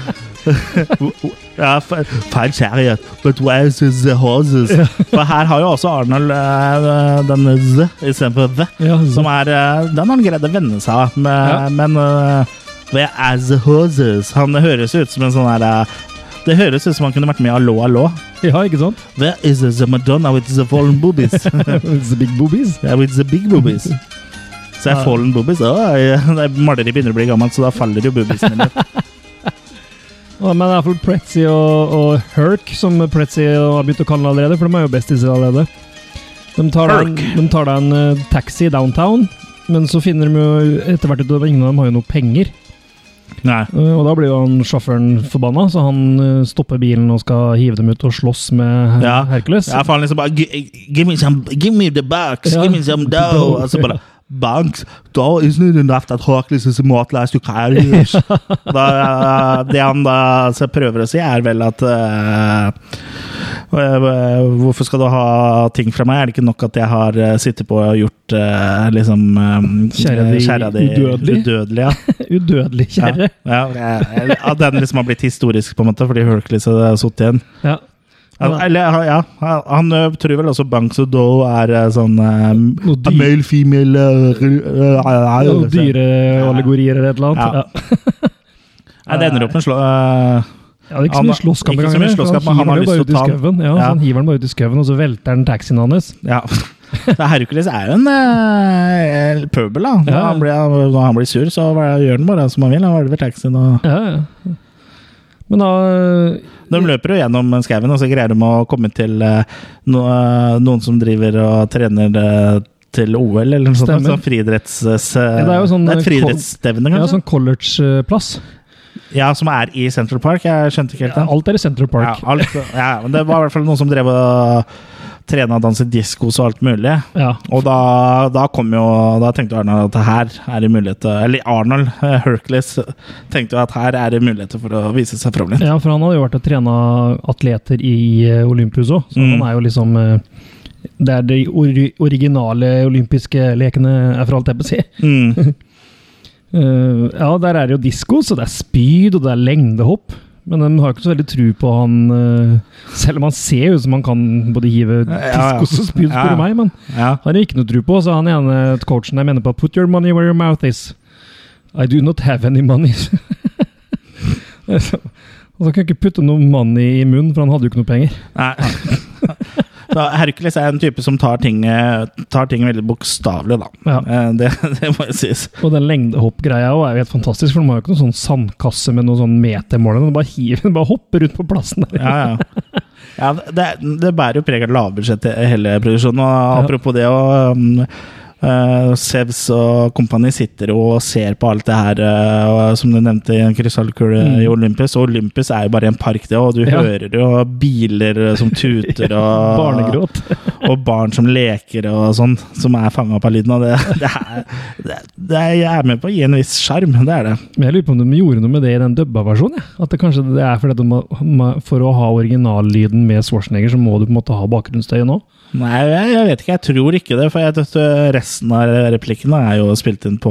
S1: ja f- Feil chariot, but where's the horses? For her har jo også Arnold eh, den z istedenfor the,
S2: Ja,
S1: som er eh, Den har han greid å venne seg av, men,
S2: Mhm. Ja.
S1: men eh, where are the horses? Han høres ut som en sånn her eh, Det høres ut som han kunne vært med i Allo, allo.
S2: ja, ikke sant?
S1: Where is the Madonna with the fallen boobies?
S2: It's the big boobies.
S1: yeah, with the big boobies. Så er fallen boobies Å, ja, det er- Maleri begynner å bli gammelt, så da faller jo boobiesene litt.
S2: Ja, men det er i hvert fall Pretzy og, og Herc, som Pretzy har begynt å kalle det allerede, for de er jo bestis allerede. De tar, da en,
S1: Herc.
S2: de tar da en eh, taxi i downtown, men så finner de jo etter hvert ut at ingen av dem har jo noe penger.
S1: Nei.
S2: Eh, Og da blir jo han sjåføren forbanna, så han eh, stopper bilen og skal hive dem ut og slåss med
S1: Ja.
S2: Hercules.
S1: Ja, for han liksom bare "Gi- Give me some Give me the box
S2: Ja.
S1: Give me some dough Og så bare Box Dough isn't it enough That Hercules is immortalized You carry it." da, eh, Det han da så prøver å si Er vel at eh, eh, Hvorfor skal du ha ting fra meg Er det ikke nok at jeg har eh, sittet på Og gjort eh, liksom eh,
S2: Kjære de
S1: kjære de
S2: udødelige.
S1: udødelige, ja.
S2: Udødelig
S1: Ja,
S2: kjerre.
S1: ja, eh, at den liksom har blitt historisk på en måte Fordi Hercules har suttet igjen
S2: Ja.
S1: ja, eller, ja, han- han ø, tror vel også Banks og Doe er ø, sånn um,
S2: Noe dyr-
S1: Male, female eh, ø, re- ø, ø, ø,
S2: Og
S1: ø,
S2: dyreallegorier eller et eller
S1: Ja.
S2: annet. Ja.
S1: Nei, Det ender opp med slå... eh, ø,
S2: Ja, det er ikke så
S1: Han-
S2: mye slåsskamp
S1: ikke så
S2: engang.
S1: mye
S2: der, for
S1: slåsskamp, men han
S2: hiver
S1: har
S2: den jo
S1: lyst
S2: bare
S1: til å
S2: ut i
S1: ta den.
S2: skauen, Ja, så
S1: Ja.
S2: Han hiver den bare ut i skauen, og så velter han taxien hans.
S1: ja. Så Hercules er jo en ø, pøbel, da. Når,
S2: Ja.
S1: han blir, når han blir sur, så hva- gjør han bare som han vil. Han velger taxien og
S2: Ja, ja. Men da eh,
S1: De løper jo gjennom skauen, og så greier de å komme til ø, no, ø, noen som driver og trener ø, til OL, eller noe sånt.
S2: Stemmer.
S1: Sånn friidretts... ø,
S2: det er jo sånn,
S1: det er et
S2: ø, kol-
S1: friidrettsstevne,
S2: ja,
S1: kanskje?
S2: sånn collegeplass.
S1: Ja, som er i Central Park. Jeg skjønte ikke helt
S2: Ja,
S1: det.
S2: alt er i Central
S1: Ja,
S2: Park.
S1: alt, ja, men det var i hvert fall noen som drev og trena og danset diskos og alt mulig.
S2: Ja.
S1: Og da, da kom jo Da tenkte jo Arnold at her er det muligheter Eller Arnold eh, Hercules tenkte jo at her er det muligheter for å vise seg fram litt.
S2: ja, for han har jo vært og trena atleter i eh, Olympus òg, så
S1: Mm.
S2: han er jo liksom eh, Det er de ori originale olympiske lekene er for alt jeg vil si.
S1: Mm.
S2: Eh, ja, der er det jo disko, så det er spyd og det er lengdehopp. Men de har ikke så veldig tru på han eh, Selv om han ser ut som han kan både hive
S1: ja.
S2: diskos og spyd,
S1: Ja,
S2: spør
S1: ja.
S2: du meg. Men
S1: Ja.
S2: har de ikke noe tru på, så han ene coachen der mener på 'put your money where your mouth is'. I do not have any money. Så- Og så kan jeg ikke putte noe money i munnen, for han hadde jo ikke noe penger.
S1: Nei. Så Hercules er en type som tar ting, eh, tar ting veldig bokstavelig, da.
S2: Ja.
S1: Eh, Det, det må jo sies.
S2: Og den lengdehoppgreia også er jo helt fantastisk, for de har jo ikke noen sånn sandkasse med noen sånn metermål. De bare, hiver, de bare hopper rundt på plassen der.
S1: Ja, ja. ja det, det bærer jo preg av lavbudsjett i hele produksjonen. Og apropos det og, um, Eh, Sevs og kompani sitter jo og ser på alt det her, eh, og som du nevnte, i en krystallkule i Olympus. Og Olympus er jo bare en park, det, og du
S2: Mm. Ja.
S1: hører jo biler eh, som tuter og
S2: Barnegråt.
S1: og barn som leker og sånn, som er fanga opp av lyden. Og det, det, er, det, det er, jeg er med på å gi en viss sjarm, det er det.
S2: Men jeg lurer på om de gjorde noe med det i den dubba versjonen. Ja. At det kanskje det er fordi at de må- må- for å ha originallyden med Schwarzenegger, så må du på en måte ha bakgrunnsstøy nå.
S1: Nei, jeg, jeg vet ikke. Jeg tror ikke det, for jeg vet, at resten av replikkene er jo spilt inn på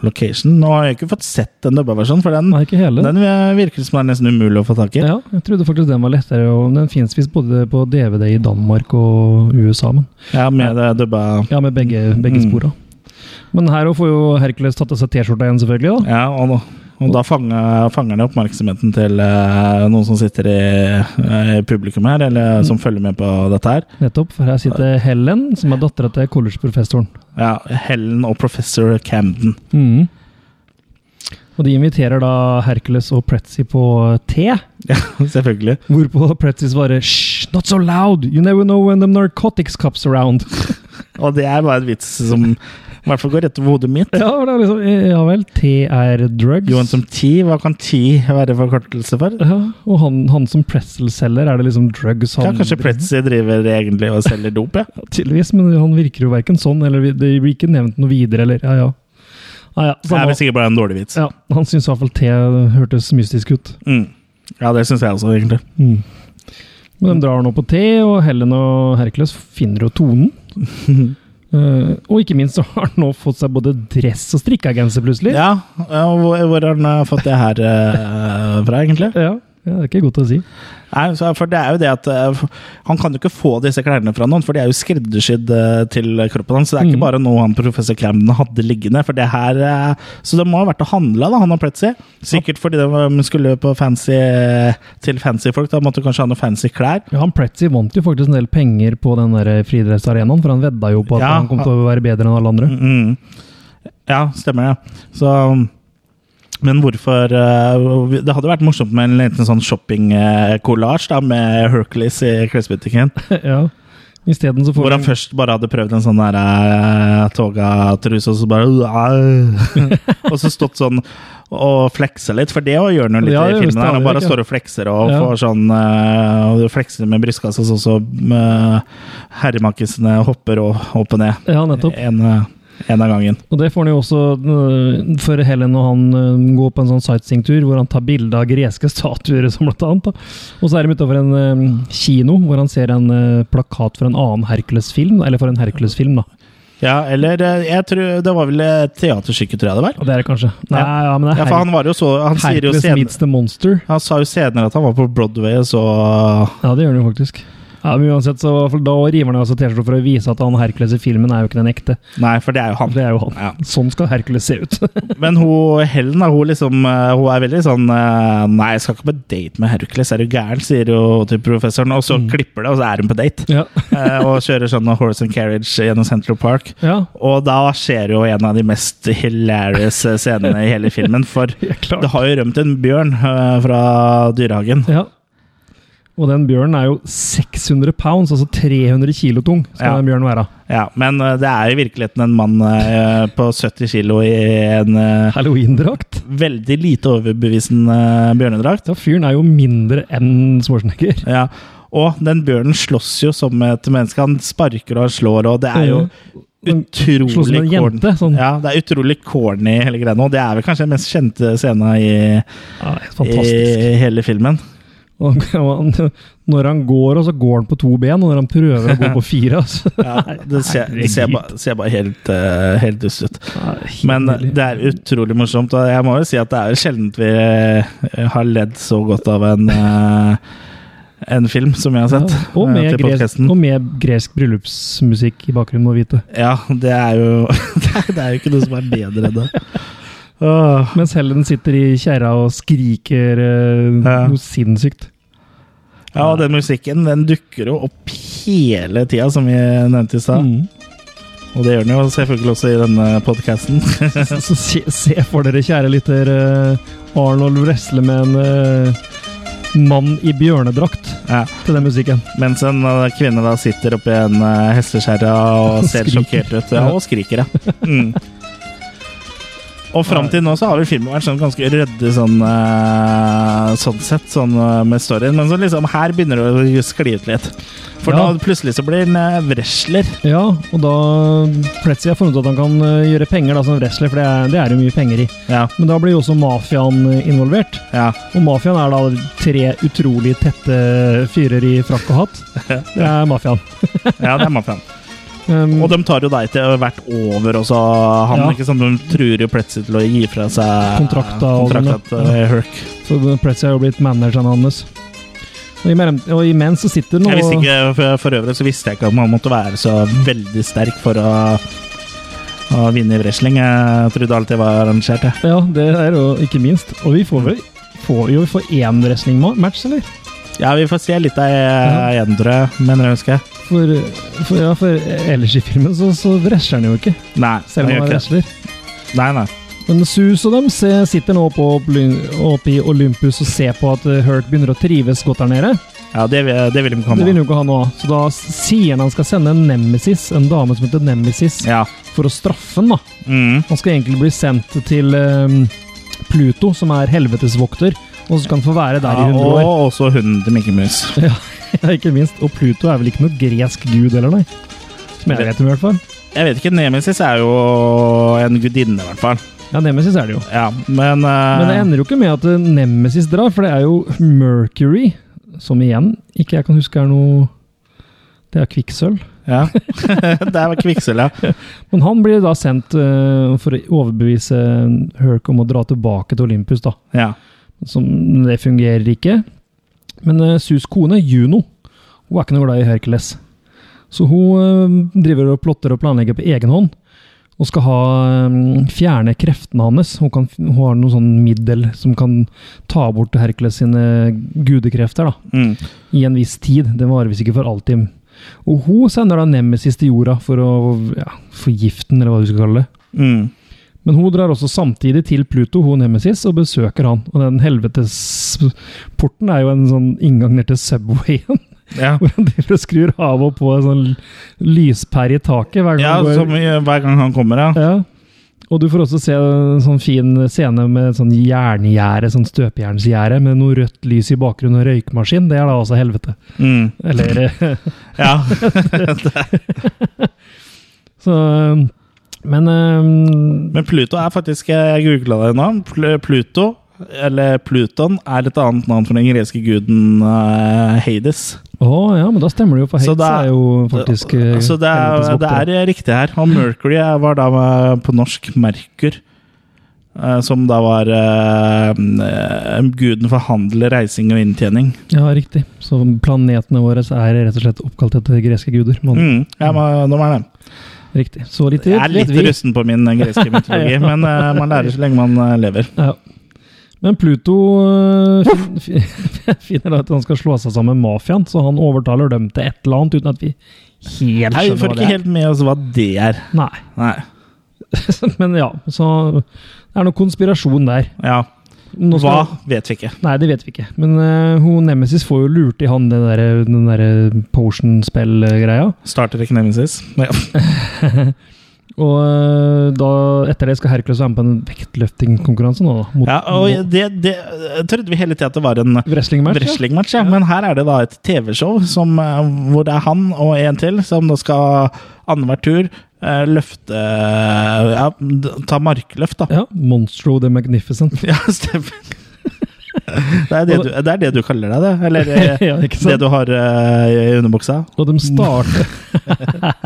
S1: location. Nå har jeg ikke fått sett den dubba versjonen, for den,
S2: Nei, ikke hele.
S1: den virker som det er nesten umulig å få tak i.
S2: Ja, jeg trodde faktisk den var lettere. og Den fins visst både på DVD i Danmark og USA. Men
S1: Ja, med det dubba
S2: ja, med begge, begge
S1: Mm.
S2: spora. Men her også får jo Hercules tatt av seg T-skjorta igjen, selvfølgelig. da.
S1: Ja, og, og da fanger, fanger det oppmerksomheten til eh, noen som sitter i, eh, i publikum her,
S2: Mm.
S1: eller som følger med på dette her.
S2: Nettopp, for her sitter Helen, som er dattera til collegeprofessoren.
S1: Ja, Helen og professor Camden.
S2: Mm. Og de inviterer da Hercules og Pretzy på eh, te.
S1: Ja, selvfølgelig.
S2: Hvorpå Pretzy svarer 'Hysj, not so loud! You never know when the narcotics cops around'.
S1: Og det er bare en vits som i hvert fall går rett over hodet mitt.
S2: ja, for det er liksom, ja vel, te er drugs.
S1: Johan som ti, hva kan ti være forkortelse for?
S2: ja, og han, han som pretzel selger, er det liksom drugs
S1: Ja,
S2: han
S1: kanskje Pretzy driver egentlig og selger dop, ja.
S2: Tydeligvis, men han virker jo verken sånn, eller vi- det blir ikke nevnt noe videre, eller Ja, ja. ja, ja,
S1: Det er
S2: samme,
S1: vel sikkert bare en dårlig vits.
S2: ja han syns i hvert fall te hørtes mystisk ut. Mm.
S1: Mm. Ja, det syns jeg også, egentlig.
S2: Men de drar nå på te, og Helen og Hercules finner jo tonen. Eh, og ikke minst så har han nå fått seg både dress og strikkegenser, plutselig.
S1: Ja, ja, og hvor, hvor har han fått det her eh, fra, egentlig?
S2: Ja, ja, det er ikke godt å si.
S1: Nei, så, for det er jo det at eh, f- Han kan jo ikke få disse klærne fra noen, for de er jo skreddersydd eh, til kroppen hans. Så
S2: Mm.
S1: det er ikke bare noe han professor Camden hadde liggende. for det her, eh, Så det må ha vært å handle, da, han og Pretzy. Sikkert fordi de eh, skulle på fancy, til fancy folk. Da måtte du kanskje ha noe fancy klær.
S2: Ja, han Pretzy vant jo faktisk en del penger på den der friidrettsarenaen, for han vedda jo på at
S1: Ja,
S2: han kom til å være bedre enn alle andre.
S1: Mm. Ja, stemmer det. Så men hvorfor eh, Det hadde vært morsomt med en liten sånn shopping-kollasj da, med Hercules i klesbutikken.
S2: ja. Isteden så får
S1: Hvor han først bare hadde prøvd en sånn der eh, toga-truse, og så bare «Uah!» Og så stått sånn og fleksa litt, for det også gjør han jo litt
S2: Ja,
S1: i
S2: det
S1: filmen.
S2: visste
S1: her, Han
S2: jeg
S1: bare
S2: ikke.
S1: står og flekser og
S2: Ja.
S1: får sånn eh, og flekser med brystkassa, sånn som herremakkisene hopper og opp og ned.
S2: Ja, nettopp.
S1: En, eh, en av gangen.
S2: Og det får han jo også øh, før Helen og han øh, går på en sånn sightseeingtur hvor han tar bilde av greske statuer som blant annet. Da. Og så er de utover en øh, kino hvor han ser en øh, plakat for en annen Hercules-film, eller for en Hercules-film, da.
S1: Ja, eller eh, jeg tror Det var vel eh, teaterstykke, tror jeg det var.
S2: Og det er det kanskje. Nei, ja, men det
S1: Ja,
S2: er
S1: for han var jo så Han sier jo
S2: Hercules
S1: senere
S2: meets the monster.
S1: Han sa jo senere at han var på Broadway, og så
S2: Ja, det gjør han jo faktisk. Ja, men uansett, så i hvert fall da river han altså T-skjorta for å vise at han Hercules i filmen er jo ikke den ekte.
S1: Nei, for det er jo han.
S2: Det er jo han.
S1: Ja.
S2: Sånn skal Hercules se ut.
S1: Men hun, Helen da, hun, liksom, eh, hun er veldig sånn eh, Nei, jeg skal ikke på date med Hercules, er du gæren? sier hun til professoren. Og så
S2: Mm.
S1: klipper det, og så er hun på date.
S2: ja.
S1: Eh, og kjører sånn horse and carriage gjennom Central Park.
S2: ja.
S1: Og da skjer jo en av de mest hilarious eh, scenene i hele filmen. For
S2: Ja, klart.
S1: det har jo rømt en bjørn eh, fra dyrehagen.
S2: Ja. Og den bjørnen er jo 600 pounds, altså 300 kilo tung, skal
S1: Ja.
S2: den bjørnen være.
S1: Ja, Men eh, det er i virkeligheten en mann eh, på 70 kilo i en eh,
S2: Halloween-drakt.
S1: veldig lite overbevisende eh, bjørnedrakt.
S2: Ja, fyren er jo mindre enn Schwarzenegger.
S1: Ja, og den bjørnen slåss jo som et menneske. Han sparker og han slår, og det er jo
S2: Han
S1: utrolig
S2: Mm. slåss med en
S1: corny.
S2: jente, sånn.
S1: Ja, det er utrolig corny hele greia nå. Det er vel kanskje den mest kjente scenen i,
S2: Ja, helt fantastisk.
S1: i hele filmen.
S2: Og han, når han går, og så går han på to ben, og når han prøver å gå på fire altså. så,
S1: Ja, det ser, det ser, bare, ser bare helt, eh, helt dust ut.
S2: Ja, helt
S1: Men
S2: nydelig.
S1: det er utrolig morsomt, og jeg må jo si at det er jo sjelden vi eh, har ledd så godt av en eh, en film som jeg har sett.
S2: Ja, og, med
S1: eh, til
S2: gresk,
S1: podcasten.
S2: og med gresk bryllupsmusikk i bakgrunnen, må vite.
S1: Ja, det er jo Det er- det er jo ikke noe som er bedre enn det. Åh.
S2: Mens Helen sitter i kjerra og skriker eh,
S1: Ja.
S2: noe sinnssykt.
S1: Ja, og den musikken den dukker jo opp hele tida, som vi nevnte i stad.
S2: Mm.
S1: Og det gjør den jo selvfølgelig også i denne podkasten.
S2: Så se, se for dere, kjære lytter, eh, Arnold wrestle med en eh, mann i bjørnedrakt
S1: Ja.
S2: til den musikken.
S1: Mens en eh, kvinne da sitter oppi en eh, hestekjerre og ser
S2: skriker.
S1: sjokkert ut. Ja, og skriker, ja. Mm. Og fram til nå så har jo filmen vært sånn ganske ryddig sånn, eh, sånn sett, sånn eh, med storyen. Men så liksom her begynner det å skli ut litt. For
S2: Ja.
S1: nå plutselig så blir han eh, wrestler.
S2: Ja, og da Pretzy har funnet ut at han kan øh, gjøre penger da som wrestler, for det er det er jo mye penger i.
S1: Ja,
S2: Men da blir jo også mafiaen øh, involvert.
S1: ja.
S2: Og mafiaen er da tre utrolig tette eh, fyrer i frakk og hatt. Det er mafiaen.
S1: ja det er mafiaen.
S2: Um,
S1: Og de tar jo deg til hvert over også, han.
S2: Ja.
S1: ikke sant? De truer jo plutselig til å gi fra seg
S2: Kontrakta og
S1: kontrakta til
S2: sånn,
S1: Herc.
S2: Så Pretzy har jo blitt manageren hans. Og, i mellom, og imens så sitter han
S1: Jeg visste
S2: og
S1: ikke, for, for øvrig så visste jeg ikke at man måtte være så veldig sterk for å, å vinne i wrestling. Jeg trodde alt det var arrangert. Jeg.
S2: Ja, det er jo ikke minst. Og vi får vel får jo vi får én wrestlingmatch, eller?
S1: Ja, vi får se litt av eh, igjen, tror jeg. Mener jeg å huske.
S2: For, for, ja, for ellers i filmen så, så wrestler han jo ikke,
S1: Nei,
S2: selv om
S1: jeg
S2: han er
S1: gjør ikke det.
S2: wrestler.
S1: Nei, nei.
S2: Men Sus og dem se- sitter nå på Obly- oppe i Olympus og ser på at eh, Hurt begynner å trives godt der nede.
S1: Ja, det, vil- det vil de
S2: Det
S1: komme
S2: vil
S1: av.
S2: jo ikke han nå. Så da s- sier han han skal sende en nemesis, en dame som heter Nemesis,
S1: Ja.
S2: for å straffe han da.
S1: Mm.
S2: Han skal egentlig bli sendt til eh, Pluto, som er helvetesvokter, og så skal han få være der
S1: Ja,
S2: i 100 år.
S1: og også hunden til Mikke Mus.
S2: Ja, ikke minst. Og Pluto er vel ikke noe gresk gud heller, nei? Som jeg vet om, i hvert fall.
S1: Jeg vet ikke, Nemesis er jo en gudinne, i hvert fall.
S2: Ja, Nemesis er det jo.
S1: Ja, men, eh,
S2: Men det ender jo ikke med at eh, Nemesis drar, for det er jo Mercury, som igjen ikke jeg kan huske er noe Det er kvikksølv.
S1: ja. Der var kvikksølv, ja.
S2: Men han blir da sendt eh, for å overbevise Herc om å dra tilbake til Olympus, da.
S1: ja.
S2: Som det fungerer ikke. Men eh, Sus kone, Juno, hun er ikke noe glad i Hercules. Så hun eh, driver og plotter og planlegger på egen hånd. Og skal ha, eh, fjerne kreftene hans. Hun, kan, hun har noe sånn middel som kan ta bort Hercules sine gudekrefter da,
S1: Mm.
S2: i en viss tid. Det varer visst ikke for alltid. Og hun sender da Nemesis til jorda for å ja, forgifte den, eller hva du skal kalle det.
S1: Mm.
S2: Men hun drar også samtidig til Pluto, hun Nemesis, og besøker han. Og den helvetesporten er jo en sånn inngang ned til Subwayen,
S1: ja.
S2: hvor han driver og skrur av og på en sånn lyspære i taket hver gang
S1: Ja,
S2: han går.
S1: som i- hver gang han kommer, ja.
S2: Ja. Og du får også se en sånn fin scene med sånn jerngjerde, sånn støpejernsgjerde, med noe rødt lys i bakgrunnen og røykmaskin. Det er da altså helvete.
S1: Mm.
S2: Eller eh,
S1: Ja.
S2: Så eh, Men eh,
S1: Men Pluto er faktisk eh, Jeg googla det nå. Pl- Pluto, eller Pluton, er et annet navn for den greske guden eh, Hades.
S2: Å ja, men da stemmer det jo, for
S1: Så
S2: Hades
S1: det er-
S2: er jo faktisk eh,
S1: Så altså, det er,
S2: helvetes
S1: det
S2: vokter.
S1: er eh, riktig her. Og Mercury var da eh, på norsk Merkur. eh, Som da var eh, eh, guden for handel, reising og inntjening.
S2: Ja, riktig. Så planetene våre er rett og slett oppkalt etter greske guder. Man,
S1: Mm, ja, men de er det.
S2: Riktig. Så litt
S1: Jeg er litt
S2: vi.
S1: rusten på min eh, greske mytologi, men eh, man lærer så lenge man eh, lever.
S2: Ja. Men Pluto øh, fin, fin, finner da at han skal slå seg sammen med mafiaen, så han overtaler dem til et eller annet uten at vi helt
S1: Nei, vi
S2: skjønner
S1: får
S2: hva
S1: ikke
S2: det er.
S1: helt med oss hva det er.
S2: Nei.
S1: Nei.
S2: Men ja, så det er noe konspirasjon der.
S1: Ja.
S2: Nå
S1: Hva
S2: skal-
S1: vet vi ikke.
S2: Nei, det vet vi ikke. Men øh, hun Nemesis får jo lurt i han den derre der potion-spill-greia.
S1: Starter ikke Nemesis? Ja.
S2: Og øh, da, etter det skal Hercules være med på en vektløftingkonkurranse nå, da. Mot,
S1: Ja, og det, det jeg trodde vi hele tida at det var en
S2: Wrestlingmatch?
S1: wrestlingmatch, ja. men her er det da et TV-show som, eh, hvor det er han og en til som da skal annenhver tur eh, løfte eh, ja, d- ta markløft, da.
S2: Ja. Monstro the Magnificent.
S1: Ja, stemmer. Det er det, du, det er det du kaller deg, det? Eller eh,
S2: Ja, ikke sant?
S1: det du har eh, i underbuksa?
S2: Og de starter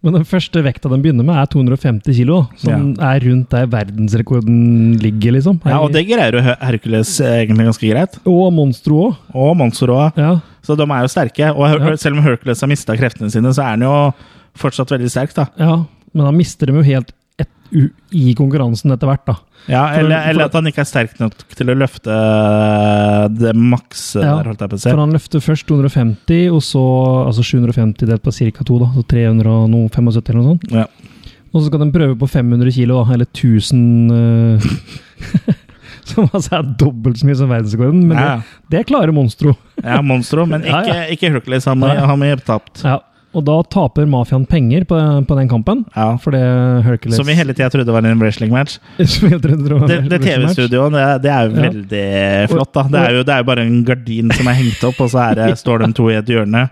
S2: Men den første vekta de begynner med, er 250 kilo. Som er rundt der verdensrekorden ligger, liksom.
S1: Ja, og det greier jo Her- Hercules eh, egentlig ganske greit.
S2: Og Monstro òg.
S1: Og Monsor òg.
S2: Ja.
S1: Så de er jo sterke. Og Her-
S2: Ja.
S1: selv om Hercules har mista kreftene sine, så er han jo fortsatt veldig sterk, da.
S2: ja. Men da mister de jo helt et, u, i konkurransen etter hvert, da.
S1: Ja,
S2: For-
S1: eller, eller
S2: for-
S1: at han ikke er sterk nok til å løfte det makse
S2: Ja,
S1: der, holdt jeg på å si.
S2: For han løfter først 250, og så altså 750 delt på ca. 2, da. Så 375 eller noe sånt.
S1: Ja.
S2: Og så skal de prøve på 500 kilo, da, eller 1000 eh, Så som altså er dobbelt så mye som verdensrekorden. Men
S1: Ja.
S2: det, det klarer Monstro.
S1: Ja, Monstro, men ikke,
S2: Ja,
S1: ikke Hercules. Han må-
S2: Nei.
S1: han må gi tapt.
S2: Ja. Og da taper mafiaen penger på, på den kampen.
S1: Ja.
S2: For det Hercules
S1: Som vi hele tida trodde var en wrestling-match.
S2: Som jeg trodde var
S1: Det, det
S2: wrestling match.
S1: TV-studioet, det, er- det er jo
S2: Ja.
S1: veldig flott, da. Det er jo, det er jo bare en gardin som er hengt opp, og så er det, står de to i et hjørne.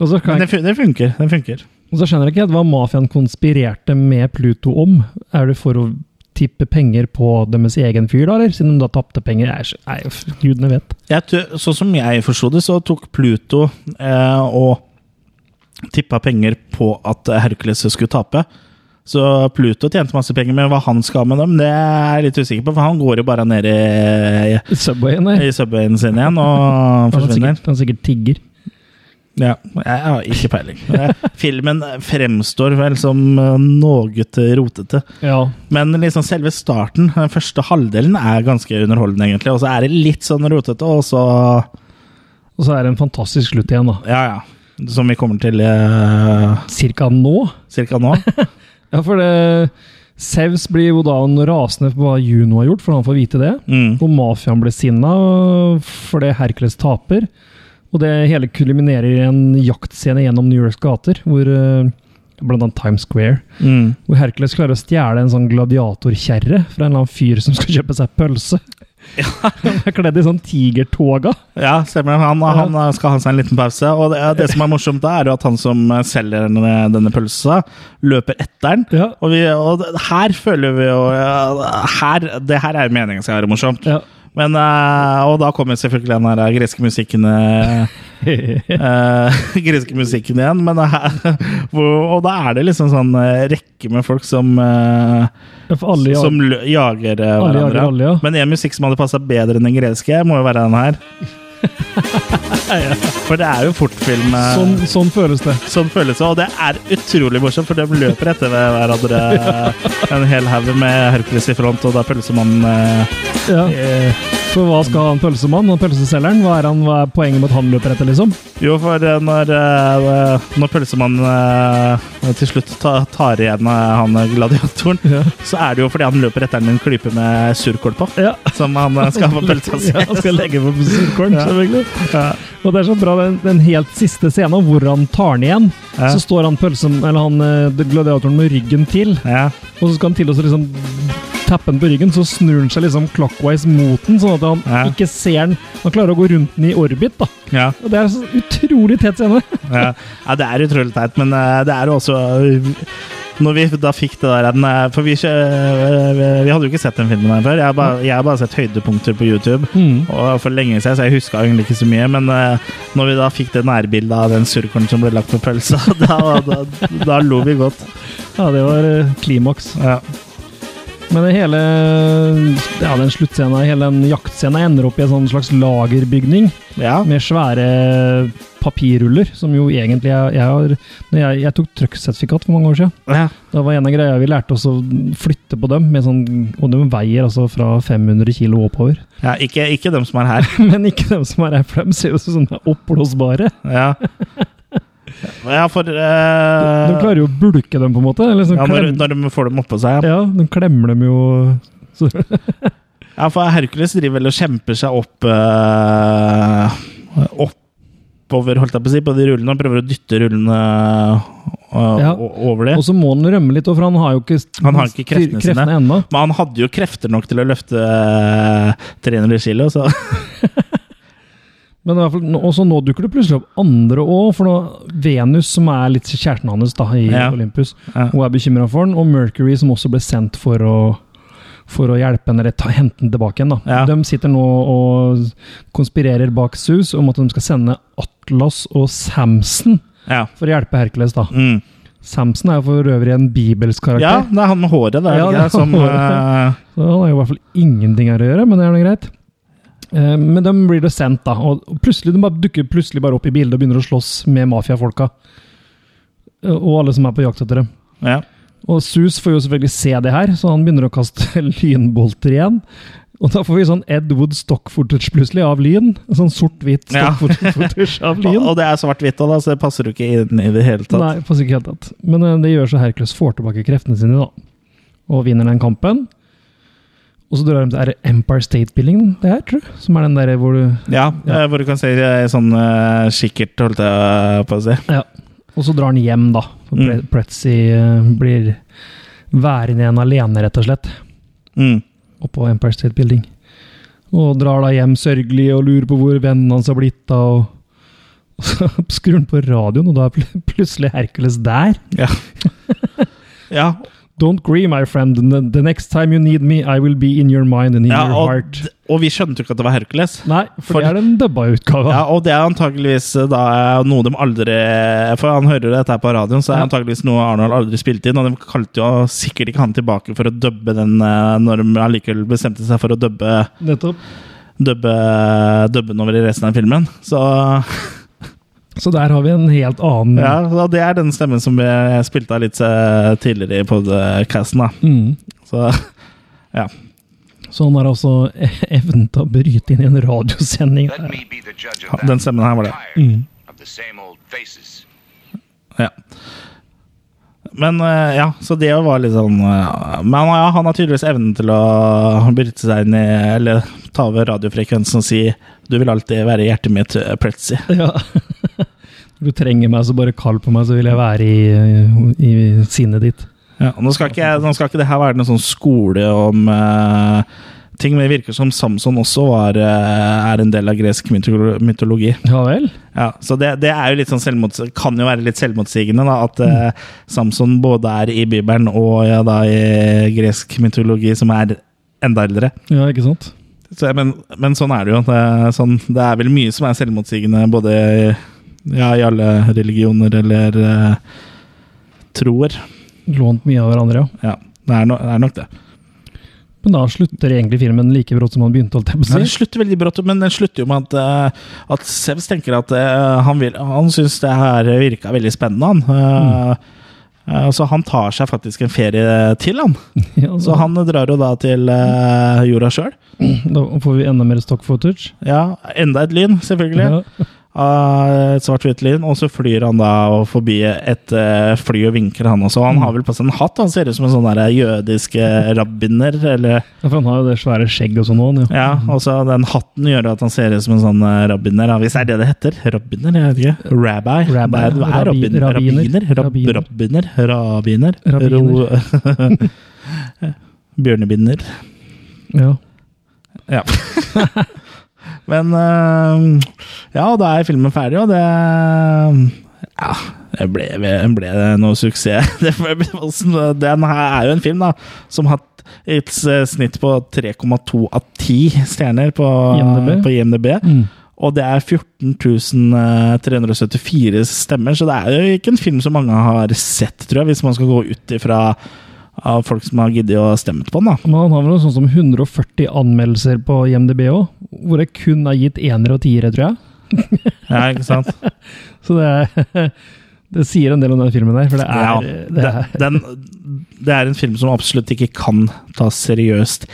S2: Og så, kan
S1: Men
S2: jeg,
S1: det, fun- det funker. Det funker.
S2: og så skjønner jeg ikke helt hva mafiaen konspirerte med Pluto om. Er det for å tippe penger på deres egen fyr, da, eller? Siden de da tapte penger? Jeg er så- Nei, f- gudene vet.
S1: Jeg, tror- sånn som jeg forsto det, så tok Pluto eh, og tippa penger på at Hercules skulle tape. Så Pluto tjente masse penger, men hva han skal med dem, det er jeg litt usikker på. For han går jo bare ned i,
S2: Subwayen, nei.
S1: i subwayen sin igjen og
S2: Han er
S1: forsvinner.
S2: sikkert, han er sikkert tigger.
S1: Ja, jeg har ikke peiling. Eh, Filmen fremstår vel som eh, noe rotete.
S2: Ja.
S1: Men liksom selve starten, den første halvdelen, er ganske underholdende, egentlig. Og så er det litt sånn rotete, og så
S2: Og så er det en fantastisk slutt igjen, da.
S1: Ja, ja. Som vi kommer til eh,
S2: Cirka nå.
S1: cirka nå.
S2: Ja, for det Sevs blir jo da en rasende på hva Juno har gjort, for han får vite det.
S1: Mm.
S2: Og mafiaen blir sinna fordi Hercules taper. Og det hele kulminerer i en jaktscene gjennom New Yorks gater, hvor eh, blant annet Times Square.
S1: Mm.
S2: Hvor Hercules klarer å stjele en sånn gladiatorkjerre fra en eller annen fyr som skal kjøpe seg pølse. Han er kledd i sånn tigertoga.
S1: Ja, stemmer. det. Han, han skal ha seg en liten pause. Og det, det som er morsomt da, er jo at han som eh, selger denne, denne pølsa, løper etter den.
S2: Ja.
S1: Og, vi, og det- her føler vi jo ja, her, Det her er jo meningen skal være morsomt.
S2: Ja.
S1: Men, eh, og da kommer selvfølgelig den her greske musikken eh, Greske musikken igjen. Men, eh, hvor, og da er det liksom sånn eh, rekke med folk som eh,
S2: For alle, ja,
S1: Som lø- jager eh,
S2: Alle
S1: hverandre.
S2: jager alle, ja.
S1: Men en musikk som hadde passa bedre enn den greske, må jo være den her. For det er jo fortfilm. eh,
S2: sånn, sånn føles det.
S1: Sånn føles det, og det er utrolig morsomt, for de løper etter hverandre en hel haug med Hercules i front, og da pølsemannen eh,
S2: Ja. For hva skal han pølsemannen og pølseselgeren? Hva er, han, hva er poenget med at han løper etter, liksom?
S1: Jo, for eh, når, eh, når pølsemannen eh, til slutt ta- tar igjen eh, han gladiatoren,
S2: Ja.
S1: så er det jo fordi han løper etter en klype med surkål på,
S2: Ja.
S1: som han eh, skal få pølsa si.
S2: Ja, han skal legge på surkorn,
S1: Ja.
S2: selvfølgelig.
S1: Ja.
S2: Og det er så bra, den, den helt siste scenen hvor han tar den igjen.
S1: Ja.
S2: Så står han pølsen, eller han eh, gladiatoren med ryggen til,
S1: Ja.
S2: og så skal han til å så liksom tappe den på ryggen, så snur han seg liksom clockwise mot den, sånn at han
S1: Ja.
S2: ikke ser den. Han klarer å gå rundt den i orbit, da.
S1: Ja.
S2: Og det er så utrolig tett scene.
S1: ja, Ja, det er utrolig teit, men eh, det er jo også eh, Når vi da fikk det der den, eh, For vi, ikke- eh, vi hadde jo ikke sett den filmen her før. Jeg har bare, jeg har bare sett høydepunkter på YouTube.
S2: Mm.
S1: Og for lenge siden, så jeg huska egentlig ikke så mye. Men eh, når vi da fikk det nærbildet av den surkålen som ble lagt på pølsa, da, da, da lo vi godt.
S2: Ja, det var eh, klimaks.
S1: Ja.
S2: Men det hele ja, den sluttscenen, hele den jaktscenen ender opp i en sånn slags lagerbygning.
S1: ja.
S2: med svære papirruller, som jo egentlig jeg, jeg har når jeg, jeg tok trucksertifikat for mange år siden.
S1: ja.
S2: Da var en av greia vi lærte oss å flytte på dem, med sånn, og de veier altså fra 500 kilo oppover.
S1: ja ikke, ikke dem som er her.
S2: Men ikke dem som er her, for dem ser jo ut som sånne oppblåsbare.
S1: Ja, ja for eh,
S2: De klarer jo å bulke dem, på en måte. Eller sånn
S1: ja, når,
S2: klem-
S1: når de får dem oppå seg. Ja.
S2: ja, de klemmer dem jo så,
S1: Ja, for Hercules driver vel og kjemper seg opp eh, Oppover, holdt jeg på å si, på de rullene. Og prøver å dytte rullene eh,
S2: Ja.
S1: o- over dem.
S2: Og så må han rømme litt, for han har jo ikke,
S1: Han har ikke kreftene sine.
S2: ennå.
S1: Men han hadde jo krefter nok til å løfte eh, 300 kilo, så
S2: Men i hvert fall, nå- og så nå dukker det plutselig opp andre òg, for nå, Venus, som er litt kjæresten hans da, i
S1: Ja.
S2: Olympus,
S1: Ja.
S2: hun er bekymra for han, og Mercury, som også ble sendt for å, for å hjelpe henne eller ta, hente henne tilbake igjen. da.
S1: Ja.
S2: De sitter nå og konspirerer bak Zeus om at de skal sende Atlas og Samson
S1: ja.
S2: for å hjelpe Hercules. da.
S1: Mm.
S2: Samson er jo for øvrig en bibelsk
S1: ja.
S2: karakter,
S1: Det er han med håret der,
S2: Ja,
S1: ikke
S2: det er
S1: det, som
S2: håret.
S1: eh,
S2: så han har jo i hvert fall ingenting her å gjøre, men det er nå greit. Eh, Men de blir det sendt, da. Og plutselig, de bare dukker plutselig bare opp i bildet og begynner å slåss med mafiafolka. Eh, Og alle som er på jakt etter dem.
S1: eh, ja.
S2: Og Sus får jo selvfølgelig se det her, så han begynner å kaste lynbolter igjen. Og da får vi sånn Ed Wood stock-footage plutselig av lyn. Sånn sort-hvitt
S1: Ja.
S2: stock-footage av
S1: Og,
S2: lyn.
S1: og det er svart-hvitt òg, så det passer jo ikke inn i det hele tatt.
S2: Nei, faktisk ikke helt tatt. Men eh, det gjør så Hercules får tilbake kreftene sine, da. Og vinner den kampen. Og så drar de til er det Empire State-billingen, det her, tror du? Som er den der hvor du
S1: Ja,
S2: Ja.
S1: eh, hvor du kan se eh, sånn eh, kikkert, holdt jeg på å si.
S2: Ja. Og så drar han hjem, da. For Pre-
S1: Mm.
S2: Pretzi eh, blir værende igjen alene, rett og slett,
S1: Mm.
S2: oppå Empire State Building. Og drar da hjem sørgelig og lurer på hvor vennen hans har blitt av. og- Og så skrur han på radioen, og da er pl- plutselig Hercules der.
S1: Ja. ja.
S2: Don't grieve, my friend. The, the next time you need me, I will be in your mind and in
S1: ja
S2: your
S1: og,
S2: heart.
S1: og vi skjønte jo ikke at det var Hercules.
S2: Nei, for,
S1: for-
S2: det er den dubba utgava.
S1: Ja, og det er antageligvis eh, da noe de aldri For han hører jo dette her på radioen, så er det
S2: Ja.
S1: antageligvis noe Arnold aldri spilte inn. Og de kalte jo sikkert ikke han tilbake for å dubbe den eh, når de allikevel bestemte seg for å dubbe,
S2: Nettopp.
S1: dubbe, dubbe den over i resten av filmen. Så
S2: Så der har vi en helt annen
S1: ja, så det er den stemmen som jeg spilte av litt eh, tidligere i podcasten, da.
S2: mm.
S1: Så
S2: Så han har altså evnen til å bryte inn i en radiosending.
S7: Let me be the judge of
S1: ja,
S7: that.
S1: den stemmen her var det.
S7: Tired of the same old faces.
S1: Ja. Men eh, ja, så det var litt sånn eh, Men ja, han har tydeligvis evnen til å bryte seg inn i Eller ta over radiofrekvensen og si 'Du vil alltid være i hjertet mitt, eh, Pretzi'.
S2: Ja. Når du trenger meg, så bare kall på meg, så vil jeg være i, i sinnet ditt.
S1: Ja, og nå, skal ikke, jeg- nå skal ikke det her være noen sånn skole om eh, ting, men det virker som Samson også var, eh, er en del av gresk mytolo- mytologi.
S2: Ja vel?
S1: Ja, så det, det er jo litt sånn selvmots kan jo være litt selvmotsigende da, at eh, Samson både er i Bibelen og ja, da, i gresk mytologi, som er enda eldre.
S2: Ja, ikke sant?
S1: Så, jeg- men, men sånn er det jo. Det er, sånn, det er vel mye som er selvmotsigende både i, ja, i alle religioner eller eh, troer.
S2: Lånt mye av hverandre, ja.
S1: Ja, det er, no, det er nok det.
S2: Men da slutter egentlig filmen like brått som han begynte, holdt jeg
S1: Men
S2: på å
S1: den
S2: si.
S1: slutter veldig brått, men den slutter jo med at, eh, at Sevs tenker at eh, han, vil, han syns det her virka veldig spennende, han. Eh, eh, Så han tar seg faktisk en ferie til, han.
S2: Ja,
S1: Så han drar jo da til eh, jorda sjøl.
S2: Da får vi enda mer stock footage.
S1: Ja, enda et lyn, selvfølgelig.
S2: Ja.
S1: av et svart-hvitt lyn, og så flyr han da forbi et eh, fly og vinker, han også. Han har vel på seg en hatt, han ser ut som en sånn der jødisk eh, rabbiner, eller
S2: Ja, For han har jo det svære skjegget og sånn òg, han, ja.
S1: Ja, og så den hatten gjør at han ser ut som en sånn eh, rabbiner, da, hvis det er det det heter. Rabbiner, jeg vet ikke. Rabbi. Det
S2: Rabbi.
S1: er, det er
S2: Rabbi-
S1: rabbin, rabbiner. Rab,
S2: rabbiner.
S1: rabbiner. Rabbiner. Ro- Bjørnebinder.
S2: ja.
S1: Ja. Men eh, Ja, da er filmen ferdig, og det Ja, det ble, ble det noe suksess. Det ble- Den her er jo en film da som har hatt et s- snitt på 3,2 av 10 stjerner på
S2: IMDb.
S1: på IMDb.
S2: Mm.
S1: Og det er 14.374 stemmer, så det er jo ikke en film som mange har sett, tror jeg, hvis man skal gå ut ifra av folk som har giddet å stemme på den. da
S2: Men han har vel noe sånn som 140 anmeldelser på IMDb òg, hvor det kun er gitt enere og tiere, tror jeg.
S1: Ja, ikke sant?
S2: Så det, er, det sier en del om den filmen der, for det er,
S1: Ja,
S2: det
S1: det,
S2: er
S1: den, det er en film som absolutt ikke kan tas seriøst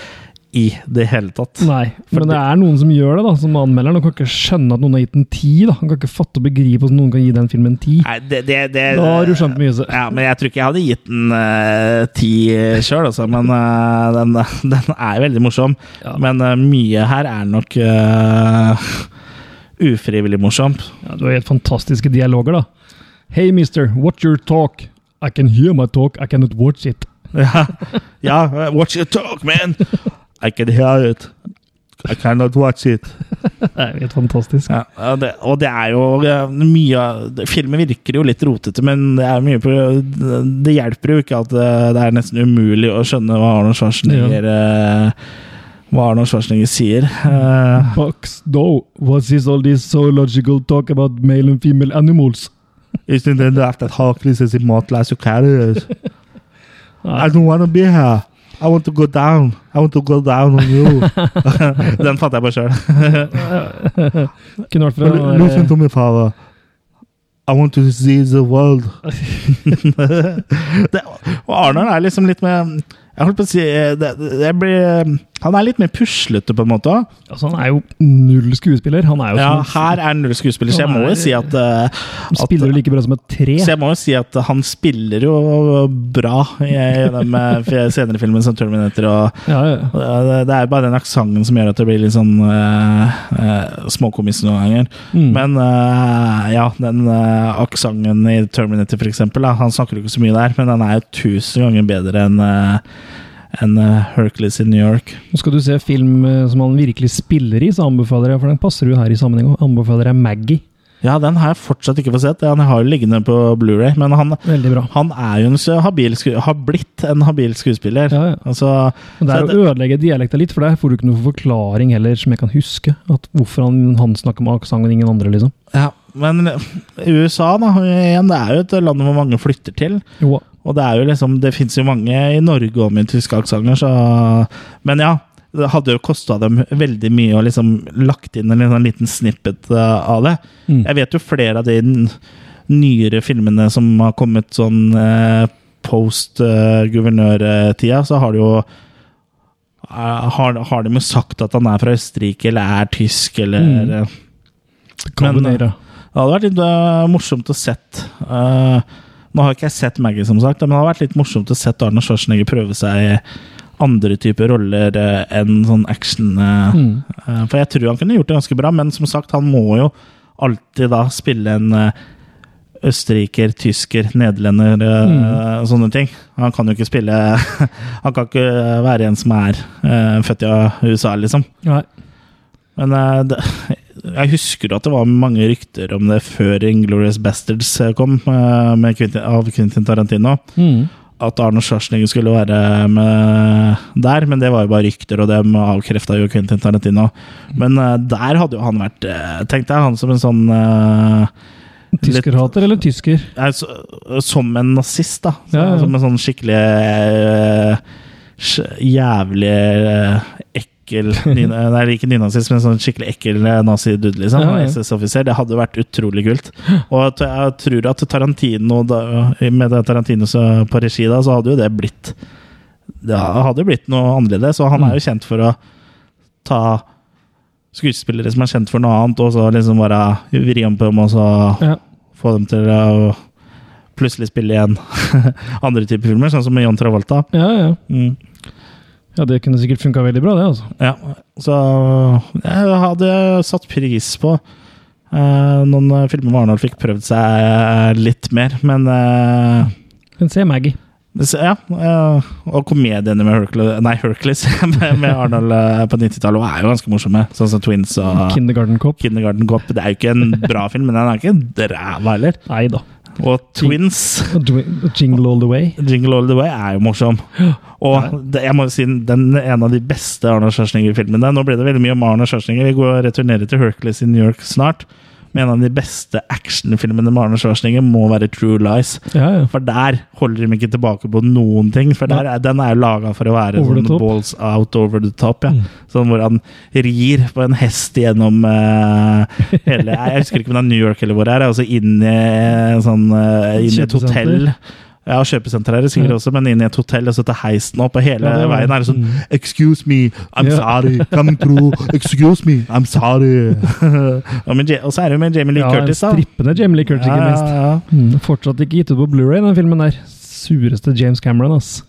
S1: i det hele tatt.
S2: Nei,
S1: For
S2: men det
S1: det-
S2: er noen som gjør det, da, som anmelder den. og kan ikke skjønne at noen har gitt den ti. da. Han kan ikke fatte og begripe hvordan noen kan gi den filmen ti.
S1: Nei, det, det, det,
S2: Da har du skjønt mye. Så.
S1: Ja, men jeg tror ikke jeg hadde gitt den eh, ti sjøl, altså. Men eh, den, den er veldig morsom.
S2: Ja.
S1: Men eh, mye her er nok eh, ufrivillig morsomt.
S2: Ja, du har helt fantastiske dialoger, da. Hey, mister, watch your talk. I can hear my talk, I cannot watch it.
S1: Ja, ja watch your talk, man! I can hear it. I cannot watch it.
S2: Det er jo helt fantastisk.
S1: Ja, og det, og det er jo eh, mye av- Filmen virker jo litt rotete, men det er mye på Det hjelper jo ikke at eh, det er nesten umulig å skjønne hva Arnold Schwarzenegger eh, Hva Arnold Schwarzenegger sier. Eh,
S2: Bucks, though, what is all this zoological talk about male and female animals?
S1: Isn't it that that Hercules is immortalized your carriers?
S2: Nei.
S1: don't want to be here. I want to go down. I want to go down on you. Den fatter jeg på sjøl.
S2: Kunne vært fra eh, den der-
S1: to me, father. I want to see the world. det, og Arnold er liksom litt med Jeg holdt på å si eh, det, det, Jeg blir Han er litt mer puslete, på en måte. også.
S2: Altså, han er jo null skuespiller. Han er jo
S1: Ja,
S2: som
S1: her er null skuespiller, så jeg må jo si at, eh,
S2: han spiller jo
S1: at
S2: like bra som et tre.
S1: så jeg må jo si at han spiller jo bra i i de eh, senere filmene som Terminator og
S2: Ja, ja.
S1: og Det det er jo bare den aksenten som gjør at det blir litt sånn eh, eh, småkomisk noen ganger.
S2: Mm.
S1: Men eh, ja, den uh, aksenten i Terminator, for eksempel, da, han snakker jo ikke så mye der, men den er jo tusen ganger bedre enn eh, enn, eh, Hercules i New York.
S2: Nå skal du se film eh, som han virkelig spiller i, så anbefaler jeg, for den passer jo her i sammenheng, også, anbefaler jeg Maggie.
S1: Ja, den har jeg fortsatt ikke fått sett. Den har jo liggende på Blu-ray, men han,
S2: Veldig bra.
S1: han er jo en så habil, sku- har blitt en habil skuespiller.
S2: Ja, ja.
S1: Altså,
S2: Men det
S1: så
S2: er å ødelegge dialekta litt, for der får du ikke noen forklaring heller som jeg kan huske. At hvorfor han, han snakker med aksent og ingen andre, liksom.
S1: ja, men USA, da, igjen, det er jo et land hvor mange flytter til.
S2: Jo,
S1: Og det er jo liksom, det fins jo mange i Norge og med tyske aksenter, så Men ja, det hadde jo kosta dem veldig mye å liksom lagt inn en liten- liten snippet eh, av det.
S2: Mm.
S1: Jeg vet jo flere av de n- nyere filmene som har kommet sånn eh, post eh, guvernørtida, så har det jo eh, har, har de jo sagt at han er fra Østerrike eller er tysk eller
S2: Mm.
S1: eh,
S2: det kan
S1: Men- eh,
S2: men, være.
S1: det hadde vært litt øh, morsomt å sett øh, Nå har ikke jeg sett Maggie, som sagt, men det hadde vært litt morsomt å sett Arne Schwarzenegger prøve seg i andre typer roller øh, enn sånn action. øh, øh, for jeg tror han kunne gjort det ganske bra, men som sagt, han må jo alltid da spille en øh, Østerriker, tysker, nederlender øh, og sånne ting. Han kan jo ikke spille Han kan ikke være en som er øh, født i USA, liksom.
S2: Nei.
S1: Men eh, det, jeg husker at det var mange rykter om det før Inglourious Bastards kom, eh, med Quentin, av Quentin Tarantino.
S2: Mm.
S1: At Arne Schwarzenegger skulle være med der, men det var jo bare rykter, og dem avkrefta jo Quentin Tarantino. Men eh, der hadde jo han vært eh, Tenk deg han som en sånn eh,
S2: Tyskerhater eller tysker?
S1: Nei, så- eh, Som en nazist, da. Så,
S2: Ja, ja.
S1: Som en sånn skikkelig eh, sj- jævlig eh, ekkel ny- Nei, ikke nynazist, men sånn skikkelig ekkel eh, nazidude, liksom.
S2: Ja, ja.
S1: SS-offiser. Det hadde vært utrolig kult. Og at eh, jeg tror at Tarantino, da, eh, med det Tarantino så- på regi, da, så hadde jo det blitt Det hadde jo blitt noe annerledes, og han er jo
S2: Mm.
S1: kjent for å ta skuespillere som er kjent for noe annet, og så liksom bare vri om på dem, og så
S2: Ja.
S1: få dem til å plutselig spille igjen andre typer filmer, sånn som med John Travolta.
S2: Ja, ja.
S1: Mm.
S2: ja, det kunne sikkert funka veldig bra, det, altså.
S1: Ja, så jeg hadde satt pris på eh, noen filmer hvor Arnold fikk prøvd seg litt mer, men eh,
S2: Men se Maggie.
S1: det- ja, eh, og komediene med Hercules, nei, Hercules med, med Arnold eh, på 90-tallet er jo ganske morsomme, sånn som Twins
S2: Ah.
S1: og
S2: Kindergarten Cop.
S1: Kindergarten Cop. Det er jo ikke en bra film, men den er ikke ræva heller.
S2: Nei da.
S1: Og Twins
S2: Og Dwi- Jingle All The Way.
S1: Jingle All The Way er jo morsom. Og det, jeg må jo si den er en av de beste Arne Schwarzenegger-filmene. Nå ble det veldig mye om Arne Schwarzenegger. Vi går og returnerer til Hercules i New York snart. Men en av de beste actionfilmene med Arne Schwarzenegger må være True Lies.
S2: Ja, ja.
S1: For der holder de ikke tilbake på noen ting. For der er, den er jo laga for å være
S2: Over the
S1: sånn
S2: top. Mm.
S1: balls out over the top. Ja. Sånn hvor han rir på en hest gjennom eh, hele Jeg husker ikke om det er New York eller hvor det er. Altså inn i, en sånn, eh, inn i et
S2: Kjøpesenter.
S1: hotell. Ja, kjøpesenter er det sikkert også, men inn i et hotell og så til heisen opp, og hele
S2: Ja, det var-
S1: veien er det sånn Excuse me, I'm
S2: Ja.
S1: sorry, coming through. Excuse me, I'm sorry. og, med, Ja- og så er det jo med Jamie Lee
S2: Ja,
S1: Curtis, da.
S2: strippende Jamie Lee Curtis, ikke minst.
S1: ja, ja.
S2: Mm, fortsatt ikke gitt ut på Blu-ray den filmen der. Sureste James Cameron, ass.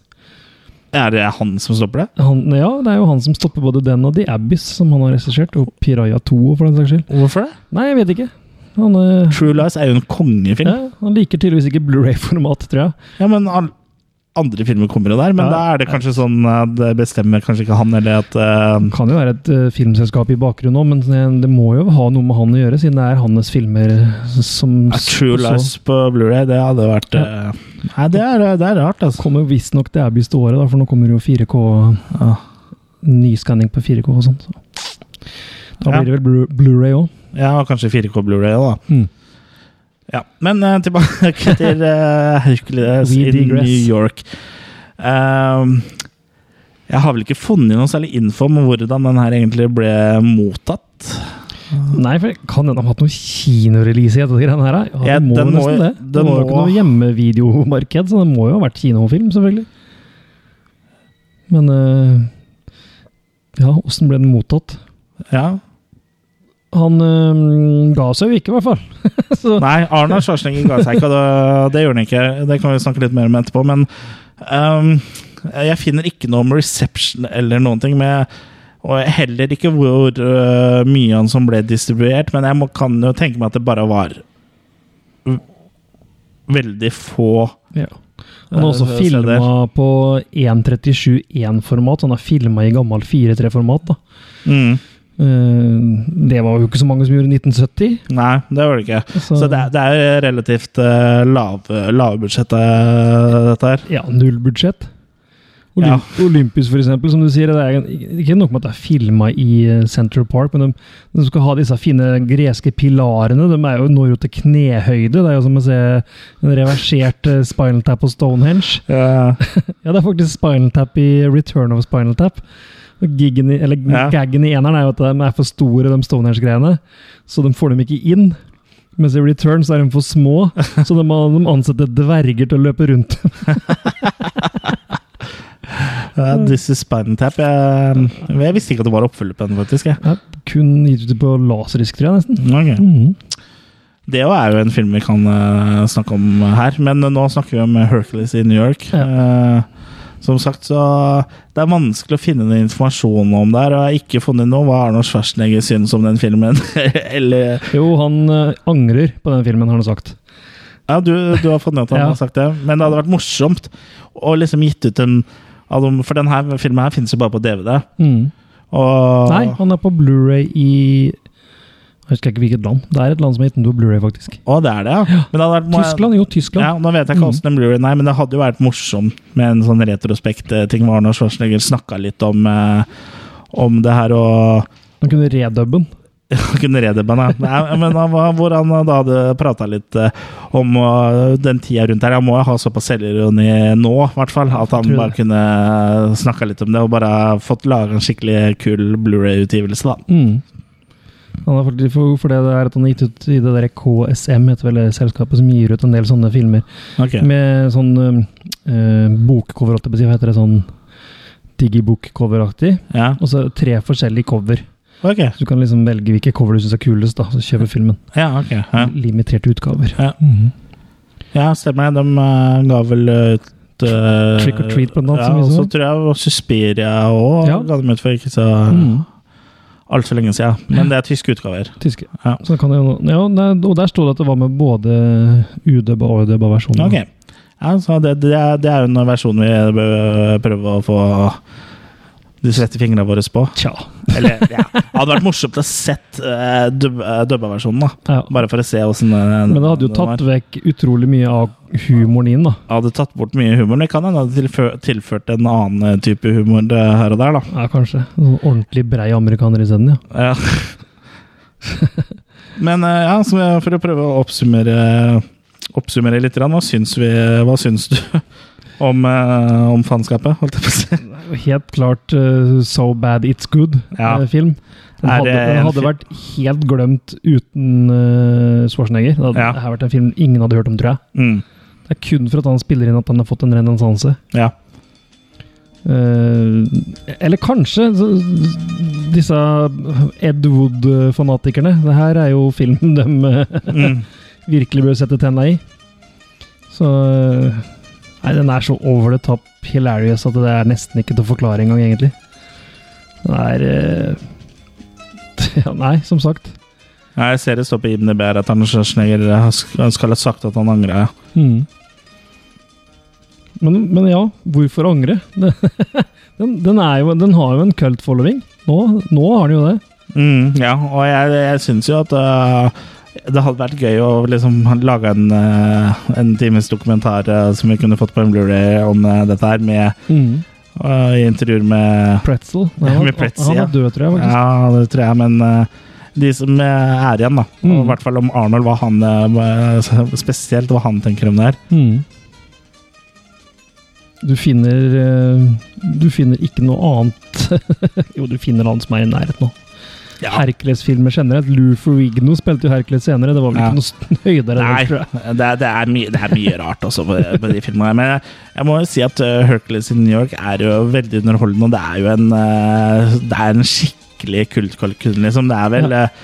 S1: Er det han som stopper det?
S2: Han, ja, det er jo han som stopper både den og The Abyss, som han har regissert, og Piraya 2, for den saks skyld.
S1: Hvorfor det?
S2: Nei, jeg vet ikke. Han, eh,
S1: True Lies er jo en kongefilm.
S2: ja,
S1: Ja,
S2: han liker tydeligvis ikke Blu-ray-format, tror jeg.
S1: men all, andre filmer kommer jo der, men
S2: Ja.
S1: da er det kanskje sånn eh, Det bestemmer kanskje ikke han, eller at
S2: Det
S1: eh,
S2: kan jo være et eh, filmselskap i bakgrunnen òg, men det- det må jo ha noe med han å gjøre, siden det er hans filmer som
S1: at True
S2: så-
S1: Lies på Blu-ray, det hadde vært eh, Nei, det er, det er rart, altså.
S2: Kommer jo visstnok The Abyss til året, da, for nå kommer jo 4K
S1: Ja.
S2: Nyskanning på 4K og sånn. Så. Da
S1: Ja.
S2: blir det vel Blu- Blu-ray òg.
S1: Ja, og kanskje 4K Blu-ray òg, da.
S2: Mm.
S1: Ja, men eh, tilbake til eh, Hercules
S2: We
S1: i
S2: digress.
S1: New York. Ehm, jeg har vel ikke funnet noe særlig info om hvordan den her egentlig ble mottatt.
S2: Nei, for det kan hende de har hatt noen kinorelease i dette greiene her. da. Ja,
S1: Ja,
S2: det må
S1: den
S2: jo
S1: må
S2: nesten
S1: jo-
S2: det.
S1: den
S2: Det var jo
S1: må-
S2: ikke noe hjemmevideomarked, så det må jo ha vært kinofilm, selvfølgelig. Men eh, Ja, åssen ble den mottatt?
S1: Ja.
S2: Han øhm, ga seg jo ikke, i hvert fall. så,
S1: Nei, Arnold Schwarzenegger ga seg ikke, og det, det gjorde han ikke. Det kan vi snakke litt mer om etterpå, men ehm, jeg finner ikke noe om reception eller noen ting. Med, og heller ikke hvor øh, mye han som ble distribuert, men jeg må, kan jo tenke meg at det bare var v- veldig få
S2: ja. Han har også
S1: Eh,
S2: filma på 1.37.1-format. Han har filma i gammel 4.3-format. da.
S1: mm.
S2: Eh, det var jo ikke så mange som gjorde i 1970.
S1: Nei, det var det ikke.
S2: Så-
S1: Så, det, er- det er relativt uh, lave lavbudsjettet, dette her.
S2: Ja, null budsjett. Olymp Olympus, for eksempel, som du sier. Det er en- ikke nok med at det er filma i eh, Central Park, men de, de skal ha disse fine greske pilarene. De er jo, når jo til knehøyde. Det er jo som å se en reversert eh, Spinal Tap på Stonehenge.
S1: Ja.
S2: Ja, det er faktisk Spinal Tap i Return of Spinal Tap. Og giggen i, eller
S1: Ja.
S2: gaggen i eneren er jo at de er for store, de Stonehenge-greiene. Så de får dem ikke inn. Mens i Return så er de for små, så de, må- de ansetter dverger til å løpe rundt.
S1: Ja, Eh, This is Spinal Tap. Jeg, jeg visste ikke at det var oppfølger på den, faktisk. Jeg.
S2: Ja, kun gitt ut på laserdisk, tror jeg nesten.
S1: Ok.
S2: Mhm.
S1: Det jo er jo en film vi kan eh, snakke om her, men eh, nå snakker vi om Hercules i New York. Eh, som sagt, så Det er vanskelig å finne noe informasjon om det her, og jeg har ikke funnet noe hva Arnold Schwarzenegger synes om den filmen. Eller
S2: Jo, han eh, angrer på den filmen, har han sagt.
S1: Ja, du, du har fått med at han
S2: Ja.
S1: har sagt det, men det hadde vært morsomt å liksom gitt ut en av dem- For den her filmen her finnes jo bare på DVD. Og
S2: Mm. Nei, han er på Blu-ray i Jeg husker ikke hvilket land. Det er et land som har gitt den på Blu-ray, faktisk.
S1: Å, det er det, ja. Men det hadde vært,
S2: Tyskland, jo, Tyskland.
S1: Ja, nå vet jeg ikke hvordan den Blu-ray Nei, men det hadde jo vært morsomt med en sånn retrospekt-ting hvor Arnold Schwarzenegger snakka litt om, eh, om det her og
S2: Han kunne redubbe den.
S1: kunne redubbe han, ja. Nei, Men han var- hvor han da hadde prata litt eh, om eh, den tida rundt her. Han må jo ha såpass selvironi nå, i hvert fall, at han
S2: Tror
S1: bare
S2: det.
S1: kunne snakka litt om det og bare fått laga en skikkelig kul Blu-ray-utgivelse, da.
S2: Mm. Han har fått for, for det det er at han har gitt ut i det der KSM, heter vel det selskapet som gir ut en del sånne filmer.
S1: Ok.
S2: Med sånn um, eh, bokcover, holdt jeg på å si. Hva heter det? Sånn digibook-coveraktig.
S1: Ja.
S2: Og så tre forskjellige cover.
S1: Ok.
S2: Så du kan liksom velge hvilke cover du syns er kulest, da. Så kjøper filmen.
S1: Ja, ok. Ja.
S2: Limiterte utgaver.
S1: Ja.
S2: Mhm.
S1: Ja, stemmer det. De eh, ga vel ut eh,
S2: Trick or treat, blant annet,
S1: Ja,
S2: som vi
S1: og
S2: så.
S1: så tror jeg og Suspiria òg
S2: Ja.
S1: ga dem ut for ikke så
S2: Mhm.
S1: altfor lenge siden. Men det er tyske utgaver.
S2: Tyske.
S1: Ja.
S2: Så kan jeg, jo- ja, nei, og der sto det at det var med både udubba og udubba versjoner.
S1: Ok. Ja, så det, det, er, det er jo en versjon vi eh, bør prøve å få de svette fingrene våre på.
S2: Tja.
S1: Eller, ja. Det hadde vært morsomt å sett uh, dubba versjonen, da.
S2: Ja.
S1: Bare for å se eh, åssen
S2: Men det hadde jo tatt vekk utrolig mye av humoren inn, da.
S1: Hadde tatt bort mye humor. Det kan hende det hadde tilfø- tilført en annen type humor eh, her og der, da.
S2: Ja, kanskje. Sånn ordentlig brei amerikaner isteden, ja.
S1: Ja. Men eh, ja, så jeg- for å prøve å oppsummere, oppsummere litt, grann, hva syns, vi, hva syns du om, eh, om faenskapet? Holdt jeg på å si.
S2: Helt klart eh, So Bad It's
S1: Ja.
S2: Good-film.
S1: Er
S2: den hadde,
S1: det
S2: den
S1: en
S2: hadde
S1: fi-
S2: vært helt glemt uten eh, Schwarzenegger. Det hadde
S1: Ja.
S2: det her vært en film ingen hadde hørt om, tror jeg.
S1: Mm,
S2: Det er kun for at han spiller inn at han har fått en renessanse.
S1: ja.
S2: Eh, eller kanskje så, disse Ed Wood-fanatikerne. Det her er jo filmen de eh,
S1: Mm.
S2: virkelig bør sette tenna i. Så eh, Nei, den er så over the top hilarious at det er nesten ikke til å forklare engang, egentlig. Den er eh, ja, Nei, som sagt.
S1: Ja, Jeg ser det står på IMDb her at Anders Schwarzenegger har sk- han skal ha sagt at han angra.
S2: Men, men ja, hvorfor angre? Den, den, er jo, den har jo en cult following. Nå, nå har den jo det.
S1: Mm, ja, og jeg, jeg syns jo at eh, det hadde vært gøy å liksom lage en, eh, en times dokumentar eh, som vi kunne fått på en Blu-ray om eh, dette her, med eh, i intervjuer med
S2: Pretzel. Nei, han,
S1: Med Pretzel,
S2: han
S1: ja.
S2: er død, tror jeg. faktisk.
S1: Ja, det tror jeg, men eh, de som eh, er igjen, da. Og I
S2: Mm.
S1: hvert fall om Arnold, hva han eh, spesielt hva han tenker om det her.
S2: Mm. Du finner eh, Du finner ikke noe annet Jo, du finner han som er i nærheten nå.
S1: Ja.
S2: Hercules-filmer generelt. Lou Ferrigno spilte jo Hercules senere. Det var vel
S1: Ja.
S2: ikke noe st- høydere der,
S1: Nei,
S2: tror jeg.
S1: det, er- det, er mye, det er mye rart også på, på de filmene. Men jeg, jeg må jo si at eh, Hercules in New York er jo veldig underholdende, og det er jo en, eh, det er en skikkelig kultkalkun, liksom. Det er vel eh,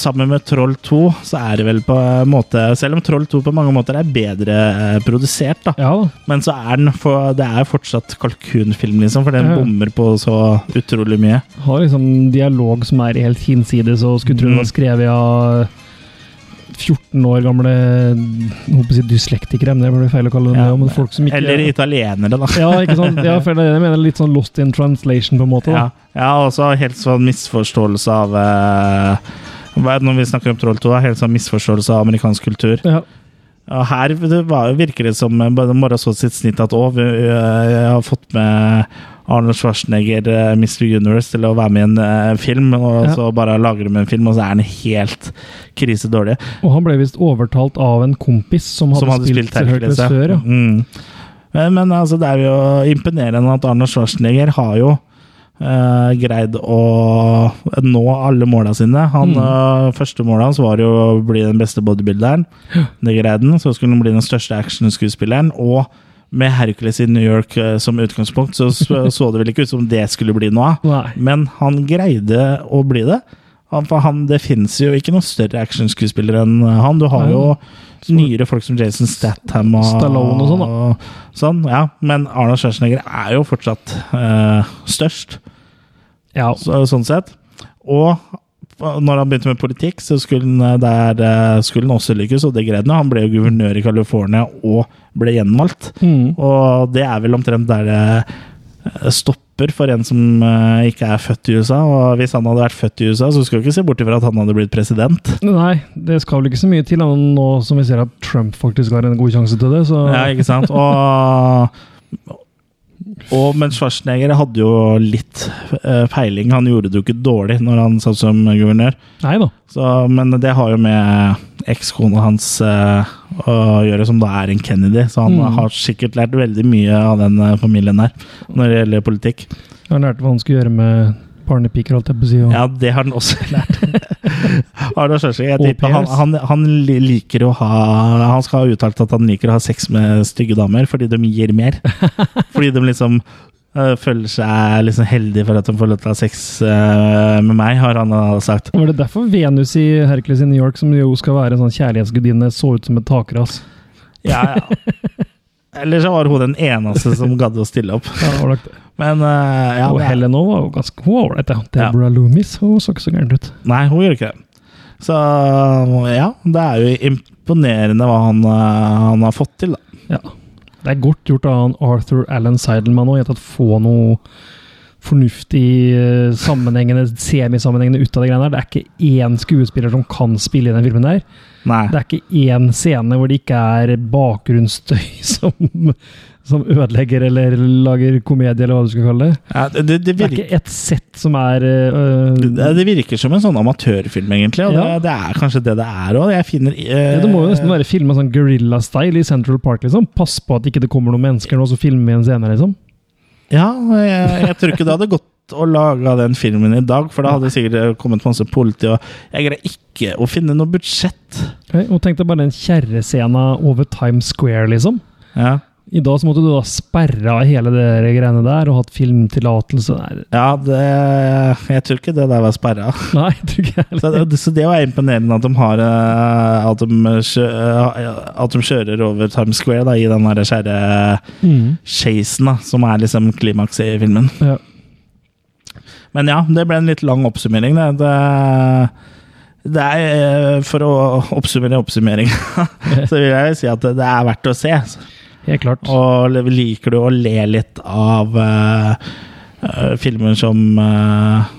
S1: Sammen med Troll 2 så er det vel på en måte Selv om Troll 2 på mange måter er bedre eh, produsert, da,
S2: Ja da.
S1: men så er den for, det er fortsatt kalkunfilm, liksom, for den
S2: Ja.
S1: bommer på så utrolig mye.
S2: Har liksom dialog som er helt hinsides, og skulle tro det
S1: Mm.
S2: var skrevet av 14 år gamle jeg håper å si dyslektikere, men det blir feil å kalle dem det.
S1: Ja,
S2: men folk som ikke
S1: Eller italienere, da.
S2: Ja, ikke sant? Ja, for det, jeg mener litt sånn lost in translation, på en måte.
S1: Ja,
S2: Da.
S1: ja også helt sånn misforståelse av eh, hva er det Når vi snakker om Troll 2, da? helt sånn misforståelse av amerikansk kultur.
S2: Ja.
S1: Og her det var, virker det som eh, bare Mora så sitt snitt at å, vi, eh, jeg har fått med Arnold Schwarzenegger, eh, Mr. Universe, til å være med i en eh, film, og
S2: Ja.
S1: så bare lager de en film, og så er den helt krisedårlig.
S2: Og han ble visst overtalt av en kompis som hadde,
S1: Som hadde spilt Hercules ja.
S2: før. Ja.
S1: Mm. Men, men altså, det er jo imponerende at Arne Schwarzenegger har jo eh, greid å nå alle måla sine. Han, eh, første målet hans var jo å bli den beste bodybuilderen. Det greide han. Så skulle han bli den største actionskuespilleren. Og med Hercules i New York eh, som utgangspunkt, så så, så det vel ikke ut som det skulle bli noe av.
S2: Nei.
S1: Men han greide å bli det. Han, for han, det finnes jo ikke noen større actionskuespiller enn han. Du har
S2: Nei.
S1: jo nyere folk som Jason Statham og
S2: Stallone og sånn, da.
S1: og sånn, ja. Men Arnold Schwarzenegger er jo fortsatt eh, størst,
S2: Ja.
S1: så, sånn sett. Og når han begynte med politikk, så skulle han, eh, der, eh, skulle han også lykkes, og det greide han. Han ble jo guvernør i California og ble gjenvalgt.
S2: Mm.
S1: Og det er vel omtrent der det eh, stopper for en som eh, ikke er født i USA. Og hvis han hadde vært født i USA, så skal vi ikke se bort ifra at han hadde blitt president.
S2: Nei, det skal vel ikke så mye til, annet enn nå som vi ser at Trump faktisk har en god sjanse til det. Så
S1: Ja, ikke sant? Og, og men Schwarzenegger hadde jo litt eh, peiling. Han gjorde det jo ikke dårlig når han satt som guvernør.
S2: Nei da.
S1: Så, men det har jo med ekskona hans eh, å gjøre, som da er en Kennedy. Så han
S2: Mm.
S1: har sikkert lært veldig mye av den eh, familien der når det gjelder politikk.
S2: Jeg lærte hva han skulle gjøre med barnepiker, holdt jeg på å si. Og,
S1: Ja, det har han også lært. Arnold Schwarzenegger,
S2: Og
S1: jeg tipper han,
S2: pairs.
S1: han, han li- liker å ha Han skal ha uttalt at han liker å ha sex med stygge damer fordi de gir mer. Fordi de liksom øh, føler seg liksom heldige for at de får lov til å ha sex øh, med meg, har han øh, sagt.
S2: Var det derfor Venus i Hercules i New York, som jo skal være en sånn kjærlighetsgudinne, så ut som et takras?
S1: Ja, ja. Eller så var hun den eneste som gadd å stille opp.
S2: Ja, var det-
S1: Men øh, ja,
S2: og
S1: det er-
S2: Helen òg var jo ganske Hun var ålreit, ja.
S1: Ja.
S2: Deborah Loomis hun så ikke så gæren ut.
S1: Nei, hun gjør ikke det. Så ja, det er jo imponerende hva han, øh, han har fått til, da.
S2: Ja. Det er godt gjort av han Arthur Allen Seidelman å gjette at få noe fornuftig, eh, sammenhengende, semisammenhengende ut av det greiene der. Det er ikke én skuespiller som kan spille i den filmen der.
S1: Nei.
S2: Det er ikke én scene hvor det ikke er bakgrunnsstøy som, som ødelegger eller lager komedie, eller hva du skal kalle det.
S1: Ja, det, det, det,
S2: Det er
S1: virker,
S2: ikke et sett som er eh,
S1: det, det virker som en sånn amatørfilm, egentlig. Og
S2: Ja.
S1: det, det er kanskje det det er òg. Jeg finner eh,
S2: Ja, Det må jo nesten være filma sånn guerrilla-style i Central Park. liksom. Pass på at ikke det kommer noen mennesker nå, så filmer vi en scene. liksom.
S1: Ja, jeg, jeg tror ikke det hadde gått å lage den filmen i dag, for da hadde det sikkert eh, kommet masse politi, og jeg greier ikke å finne noe budsjett.
S2: Ok, Og tenk deg bare den kjerrescena over Times Square, liksom.
S1: Ja,
S2: I dag så måtte du da sperre av hele det der greiene der og hatt filmtillatelse. Nei,
S1: ja det, jeg tror ikke det der var sperra.
S2: nei, jeg tror ikke jeg
S1: Så
S2: heller.
S1: det, så det var imponerende at de, har, eh, at, de kjø, eh, at de kjører over Times Square da, i den der skjære
S2: Mm.
S1: chasen, da, som er liksom klimakset i filmen.
S2: Ja.
S1: Men ja, det ble en litt lang oppsummering. Det, det, det er eh, For å oppsummere oppsummeringa, så vil jeg si at det er verdt å se.
S2: Helt klart.
S1: Og liker du å le litt av eh, eh, filmer som eh,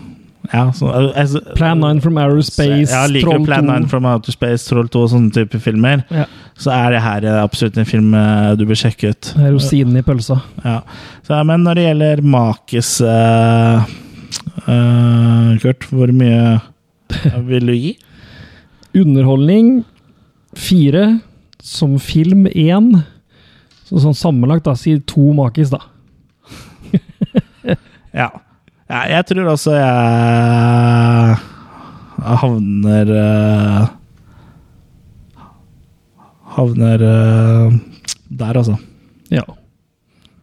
S1: ja, så, eh,
S2: Plan 9 from Outer Space,
S1: ja, liker
S2: Troll
S1: du Plan 9
S2: 2.
S1: from Outer Space, Troll 2 og sånne type filmer,
S2: Ja.
S1: så er det her eh, absolutt en film eh, du bør sjekke ut.
S2: Det er Rosinen i pølsa.
S1: Ja. Så, men når det gjelder makis eh, eh, Kurt, hvor mye vil du gi?
S2: Underholdning fire. Som film én. Så sånn sammenlagt, da. Si to makis, da.
S1: Ja. ja jeg tror også jeg havner eh, Havner eh, der, altså.
S2: Ja.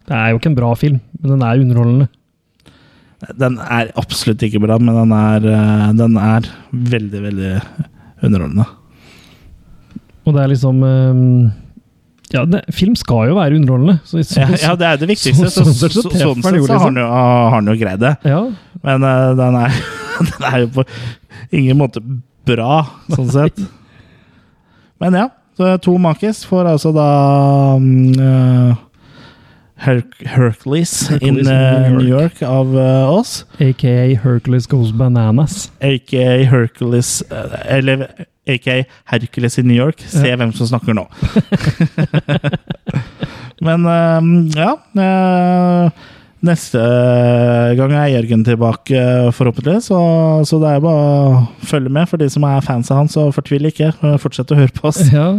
S2: Det er jo ikke en bra film, men den er underholdende.
S1: Den er absolutt ikke bra, men den er, eh, den er veldig, veldig underholdende.
S2: Og det er liksom eh, Ja, det, film skal jo være underholdende. Så, så,
S1: Ja, ja, det er det viktigste. Så,
S2: så- sånn sett så
S1: så-
S2: treffer
S1: sånn
S2: den
S1: sett
S2: jo,
S1: så har
S2: liksom.
S1: den jo, har den jo greid det.
S2: ja.
S1: Men eh, den, er, den er jo på ingen måte bra, sånn sett. Men ja, så to makis får altså da mm, eh, Her Hercules in
S2: Hercules in
S1: eh,
S2: New
S1: New York av eh, oss.
S2: AKA Hercules Goes Bananas.
S1: Aka Hercules eh, Eller aka Hercules i New York. Se
S2: Ja.
S1: hvem som snakker nå. Men eh, ja eh, Neste gang er Jørgen tilbake, eh, forhåpentligvis. Så, så det er bare å følge med. For de som er fans av han, så fortvil ikke. Eh, Fortsett å høre på oss.
S2: Ja.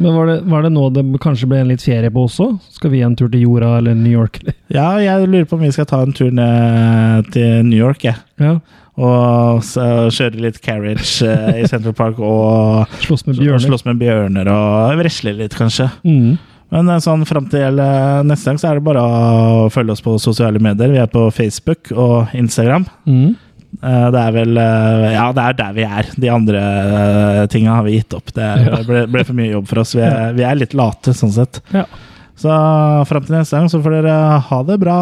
S2: Men var det, var det nå det kanskje ble en litt ferie på også? Skal vi en tur til jorda eller New York? eller?
S1: Ja, jeg lurer på om vi skal ta en tur ned til New York, jeg.
S2: Ja.
S1: Og så kjøre litt carriage eh, i Central Park og
S2: Slåss med
S1: og
S2: bjørner.
S1: slåss med bjørner og vresle litt, kanskje.
S2: Mm.
S1: Men eh, sånn fram til eh, neste gang så er det bare å følge oss på sosiale medier. Vi er på Facebook og Instagram.
S2: Mm.
S1: Eh, Det er vel eh, Ja, det er der vi er. De andre eh, tinga har vi gitt opp. Det er-
S2: Ja.
S1: ble, ble for mye jobb for oss. Vi er, vi er litt late, sånn sett.
S2: Ja.
S1: Så fram til neste gang så får dere ha det bra.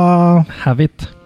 S2: Have it.